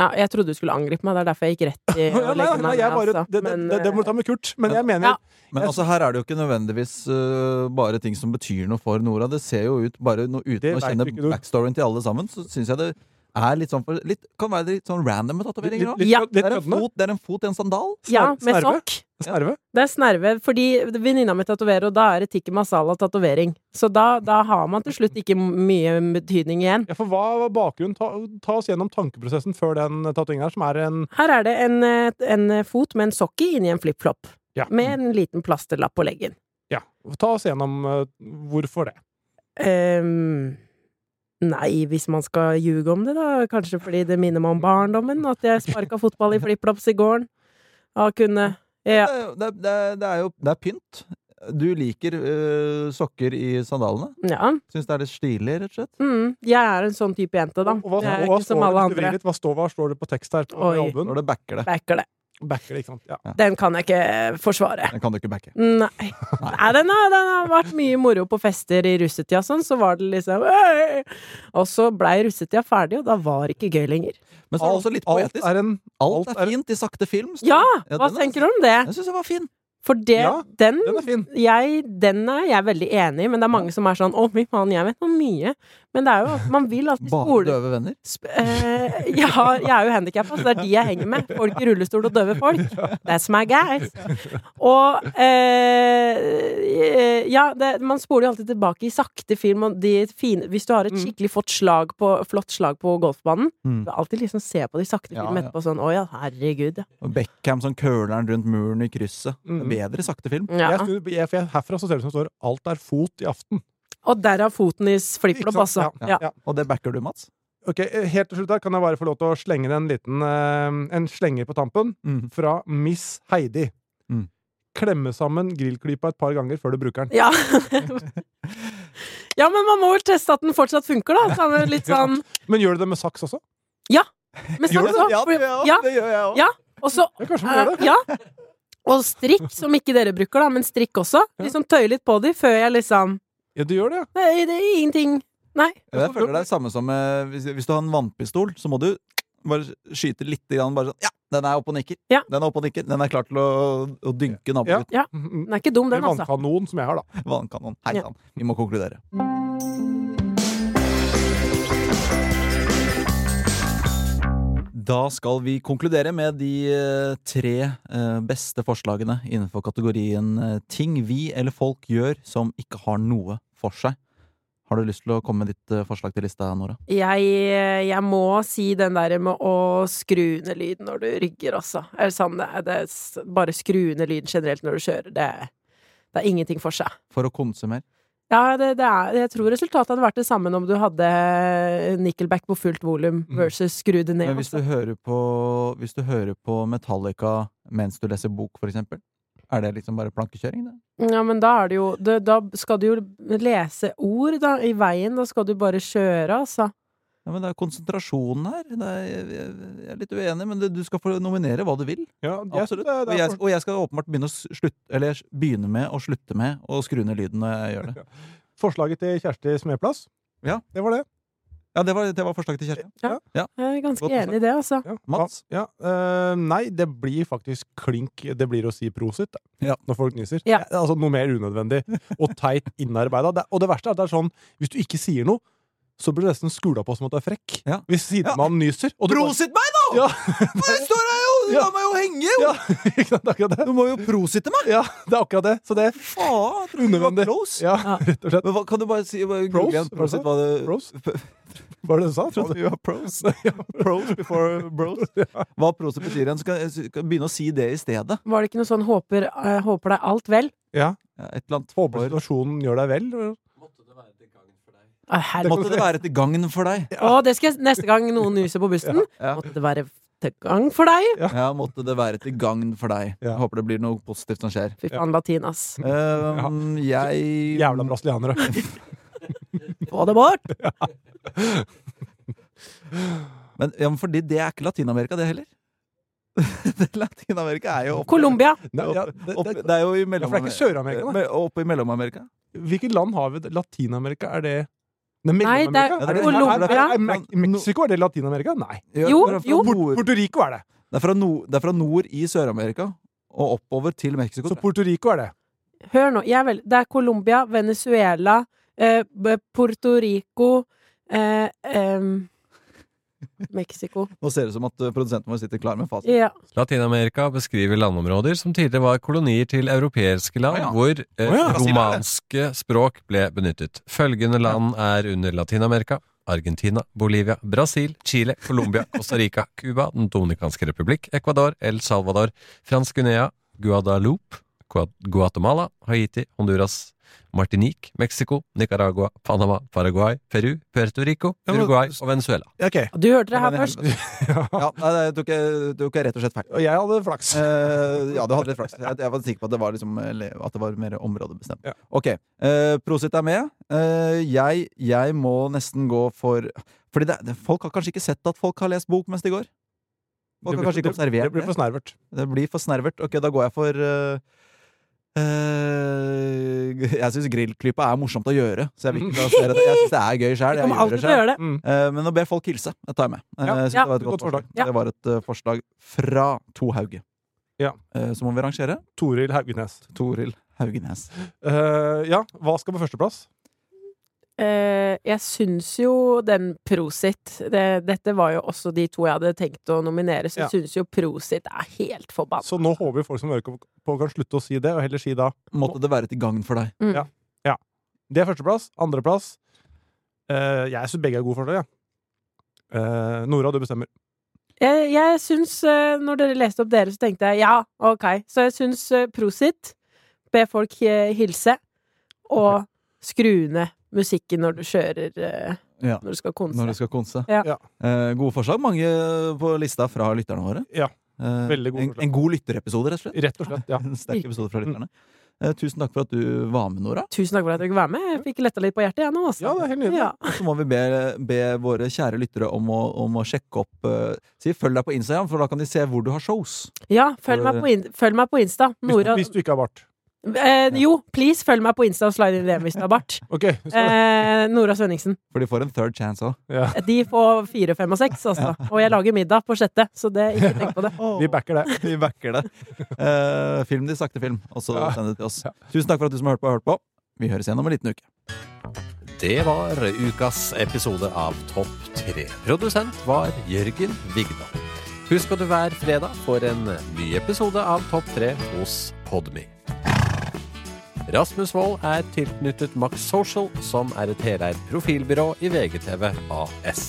ja, Jeg trodde du skulle angripe meg, det er derfor jeg gikk rett i
Ja, nei,
å legge
nei,
meg
nei,
ned,
jeg bare,
altså.
det, det,
Men, øh,
det, det må du ta med Kurt. Men jeg mener
Ja.
Men altså, her er det jo ikke nødvendigvis eh, bare ting som betyr noe for Nora. Det ser jo ut bare noe
Det
uten å
vet
kjenne
du ikke, du.
backstoryen til alle sammen, så syns jeg det er litt sånn for, litt, Kan være litt sånn random med tatoveringer òg.
litt,
Ja.
litt,
Det,
litt
er en
køddende.
fot- det er en fot i en sandal.
ja, med
Snerve?
sokk.
Snerve.
Det er snerve, fordi venninna mi tatoverer, og da er det tikki masala tatovering. Så da, da har man til slutt ikke mye betydning igjen.
Ja, for hva var bakgrunnen? Ta, ta oss gjennom tankeprosessen før den tatoveringen her, som er en
Her er det en, eh, en fot med en sokk i inni en flipflop,
Ja.
med en liten plasterlapp på leggen.
Ja, ta oss gjennom eh, hvorfor det.
Ehm, nei, hvis man skal ljuge om det, da. Kanskje fordi det minner meg om barndommen, at jeg sparka fotball i flipflops i gården. Og kunne ja.
Det, er- det, er- det er jo det er pynt. Du liker eh, sokker i sandalene.
ja.
Syns det er litt stilig, rett og slett.
Mm, jeg er en sånn type jente, da.
Og hva,
jeg er
og hva,
ikke
står
som alle
det,
andre.
Litt, hva, står, hva står det på tekst her? På
Oi.
jobben?
Når det backer det.
Backer det.
Backer det, ikke sant? Ja.
Den kan jeg ikke forsvare.
Den kan du ikke backe.
Nei. Nei, den har, den har vært mye moro på fester i russetida, sånn, så var det liksom «Øy!» Og så blei russetida ferdig, og da var det ikke gøy lenger.
Men så er det også litt poetisk.
Alt er en
Alt
Alt
er
er-
fint i sakte film. står det.
Ja!
Ja,
Hva
den er-
tenker du om det?
Jeg syns jeg var fin.
For det,
Ja,
den
Den er fin.
jeg, den er jeg veldig enig i, men det er mange som er sånn 'Å, fy faen, jeg vet for mye'. Men det er jo at man vil alltid
Bare
spole
døve venner.
sp eh, jeg, har, jeg er jo handikappa, så det er de jeg henger med. Folk i rullestol og døve folk. That's my guys. Og eh, Ja, det, man spoler jo alltid tilbake i sakte film. Og de fine, hvis du har et skikkelig flott slag på, flott slag på golfbanen,
Mm.
du alltid liksom se på de sakte
Ja,
filmene
ja.
etterpå sånn Å ja, herregud, ja.
Og Beckham som curler den rundt muren i krysset.
Mm.
Det er bedre i sakte film.
ja.
Jeg, synes- jeg, for jeg, herfra så ser det ut som det står 'Alt er fot i aften'.
Og derav foten i
Ikke
flipflop,
sant?
altså.
Ja,
Ja.
ja.
Og det backer du, Mats.
Ok, eh, Helt til slutt her kan jeg bare få lov til å slenge inn en liten eh, En slenger på tampen fra Miss Heidi.
Mm.
Klemme sammen grillklypa et par ganger før du bruker den.
Ja. ja, men man må vel teste at den fortsatt funker, da. Så er det litt sånn
Men gjør du det med saks også?
Men
Gjør
snakk om- Ja,
gjør jeg
Ja. og så
Ja, kanskje man gjør det.
eh, Ja. Og strikk, som ikke dere bruker, da, men strikk også. Liksom tøye litt på de før jeg liksom
Ja, du gjør det, ja.
Nei, det er ingenting. Nei.
Jeg føler det er samme som eh, hvis, hvis du har en vannpistol, så må du bare skyte litt grann, bare sånn Ja, den er oppe og nikker.
Ja.
Den er oppe og nikker. Den er klar til å, å dynke naboen ut.
Mm, mm.
Den er ikke dum, den,
Eller
altså.
vannkanon, som jeg har, da.
Vannkanon. Hei
Ja.
sann. Vi må konkludere. Da skal vi konkludere med de eh, tre eh, beste forslagene innenfor kategorien eh, ting vi eller folk gjør som ikke har noe for seg. Har du lyst til å komme med ditt eh, forslag til lista, Nora?
Jeg, eh, jeg må si den der med å skru ned lyden når du rygger, altså. Eller sånn, det, er- det, er s- bare skru ned lyden generelt når du kjører. Det, det er ingenting for seg.
For å konsumere.
Ja, det, det er, jeg tror resultatet hadde vært det samme om du hadde eh, Nickelback på fullt volum
Mm.
versus skru det ned.
Men hvis du
altså.
hører på, hvis du hører på Metallica mens du leser bok, for eksempel, er det liksom bare plankekjøring? Det?
Ja, men da er det jo det, Da skal du jo lese ord, da, i veien. Da skal du bare kjøre, altså.
Ja, men det er konsentrasjonen her. Det er, jeg, jeg, jeg er litt uenig, men det, du skal få nominere hva du vil.
Ja, jeg synes
Absolutt.
det,
Og
det er
jeg, og jeg skal åpenbart begynne, å s- slutt, eller begynne med og slutte med å skru ned lyden når jeg gjør det.
Forslaget til Kjersti Smedplass,
Ja.
det var det.
Ja, det var, det var forslaget til Kjersti.
Jeg er
Godt
ganske
forslag.
enig i det, altså.
Ja.
Mats?
Ja, eh, nei, det blir faktisk klink Det blir å si prosit da,
Ja.
når folk nyser.
Ja.
Altså Noe mer unødvendig og teit innarbeida. Det- Og det verste er at det er sånn hvis du ikke sier noe, så blir du nesten skula på som at du er frekk.
Ja.
Hvis sidemannen nyser. Og du bare-
Prosit meg, da!
Ja.
Jeg står her jo!
Ja.
meg jo henge!
Ja, ikke sant, akkurat det.
Du må jo prosite meg!
Ja, det er akkurat det. Så det
Faen, jeg trodde du var
Unødvendig.
close.
Ja,
Ja.
rett og slett.
Men hva, kan du bare si bare
Pros?
google igjen,
Hva
prosit,
sa du?
hva det
Pros? Hva var det du sa? Trodde du?
Ja, pros. pros before bros. Hva prosit betyr igjen, så kan jeg kan begynne å si det i stedet.
Var det ikke noe sånn 'håper, eh, håper deg alt vel'?
Ja.
Ja, Et eller annet
Håper situasjonen gjør deg vel.
Å, herregud.
Måtte det være til gagn for deg?
Å, det skal jeg neste gang noen nyser på bussen.
Ja.
Måtte det være til gang for deg.
Ja, måtte det være til gagn for deg.
Ja.
Jeg håper det blir noe positivt som skjer.
Fy faen, latin, ass.
Um, jeg
Jævla brasilianere.
Få det bort!
Men, ja, men fordi det er ikke Latin-Amerika, det heller. Det Latin-Amerika er jo opp,
Colombia.
Nei, ja, det, det,
opp, Det er jo i
ja, for det er ikke
Mellom-Amerika.
Sør-Amerika, da.
Me- Oppe i Mellom-Amerika.
Hvilket land har vi? Latin-Amerika? Er det Nei,
Nei, det
Mellom-Amerika?
er-
Er det-
Colombia.
er- er- er Mex- Mexico, er det Latin-Amerika? Nei.
Ja,
Jo,
det er fra
jo.
nord-
Puerto Rico er det.
Det er fra nord, det er fra nord i Sør-Amerika og oppover til Mexico.
Så
tror jeg.
Puerto Rico er det.
Hør nå, jeg er vel, det er Colombia, Venezuela, eh, B- Puerto Rico eh, em, Mexico.
Nå ser det ut som at eh, produsenten vår sitter klar med fasit.
Ja.
Latin-Amerika beskriver landområder som tidligere var kolonier til europeiske land,
Å ja.
hvor eh,
Å ja, Brasil er det.
romanske språk ble benyttet. Følgende land er under Latin-Amerika. Argentina, Bolivia, Brasil, Chile, Colombia, Costa Rica, Cuba, Den dominikanske republikk, Ecuador, El Salvador, Fransk Guinea, Guadalupe, Gua- Guatemala, Haiti, Honduras, Martinique, Mexico, Nicaragua, Panama, Paraguay, Peru, Puerto Rico,
Ja, men-
Uruguay og Venezuela.
Ok.
Du hørte det her
Men i
først.
helvete. Ja, nei, nei, jeg tok jeg tok jeg rett og slett feil.
Og jeg hadde flaks.
Eh, ja, du hadde litt flaks. Jeg, jeg var sikker på at det var, liksom, eller, at det var mer områdebestemt.
Ja.
Ok, eh, Prosit er med. Eh, jeg, jeg må nesten gå for Fordi det, det, folk har kanskje ikke sett at folk har lest bok mens de går. Folk har kanskje ikke observert
det blir for snervert.
Det blir for snervert. Ok, da går jeg for eh, eh, Jeg syns grillklypa er morsomt å gjøre, så jeg vil ikke plassere det. Jeg syns det er gøy
Jeg
sjæl.
kommer alltid til å gjøre det.
Mm.
Eh, Men å be folk hilse, det tar jeg med. Eh,
Ja.
jeg synes
Ja.
Det var et godt
Godt forslag.
forslag.
Ja.
Det var et eh, forslag fra To Hauge.
Ja.
Eh, Så må vi rangere.
Toril Haugenes.
Toril Haugenes.
Eh, ja, hva skal på førsteplass?
Eh, jeg syns jo den Prosit det, Dette var jo også de to jeg hadde tenkt å nominere, så
Ja. Sånn,
jeg syns jo Prosit er helt forbanna.
Så nå håper vi folk som hører på, kan slutte å si det, og heller si da
Måtte det være til gagn for deg.
Mm.
Ja. Det er førsteplass. Andreplass eh, Jeg syns begge er gode forslag, jeg. Eh, Nora, du bestemmer.
Jeg, jeg syns, eh, når dere leste opp dere, så tenkte jeg ja, ok. Så jeg syns eh, prosit, be folk eh, hilse, og skru ned musikken når du kjører eh,
Ja.
Når du skal konse.
Når du skal konse.
Ja.
Ja.
Eh, Gode forslag. Mange på lista fra lytterne våre.
Ja.
Eh,
Veldig gode
en,
forslag.
en god lytterepisode, rett og slett.
Rett og slett. Ja.
En sterk episode fra lytterne. Eh, Tusen takk for at du var med, Nora.
Tusen takk for at jeg fikk være med. Jeg fikk letta litt på hjertet, jeg nå, altså.
Ja, det er helt nydelig.
Ja.
Og så må vi be, be våre kjære lyttere om å, om å sjekke opp eh, si, Følg deg på Instagram, for da kan de se hvor du har shows.
ja følg, meg på in følg meg på Insta.
Hvis, du-
Nora
hvis du ikke har bart.
eh, Jo, please følg meg på Insta og slide inn i det hvis du har bart.
Ok. Så,
Eh, Nora Svenningsen.
For de får en third chance òg.
ja.
De får fire, fem og seks, altså. Og jeg lager middag på sjette, så det, ikke tenk på det.
Vi backer det.
Vi backer det. Eh, film de sakte film, og så
Ja.
send det til oss. Tusen takk for at du som har hørt på, har hørt på. Vi høres igjen om en liten uke.
Det var ukas episode av Topp 3. Produsent var Jørgen Vigdal. Husk at du hver fredag får en ny episode av Topp 3 hos Podme. Rasmus Wold er tilknyttet Max Social, som er et heleid profilbyrå i VGTV AS.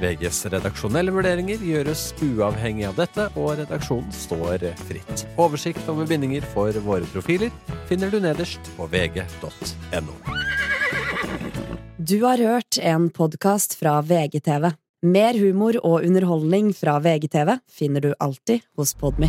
VGs redaksjonelle vurderinger gjøres uavhengig av dette, og redaksjonen står fritt. Oversikt over bindinger for våre profiler finner du nederst på vg.no.
Du har hørt en podkast fra VGTV. Mer humor og underholdning fra VGTV finner du alltid hos Podmy.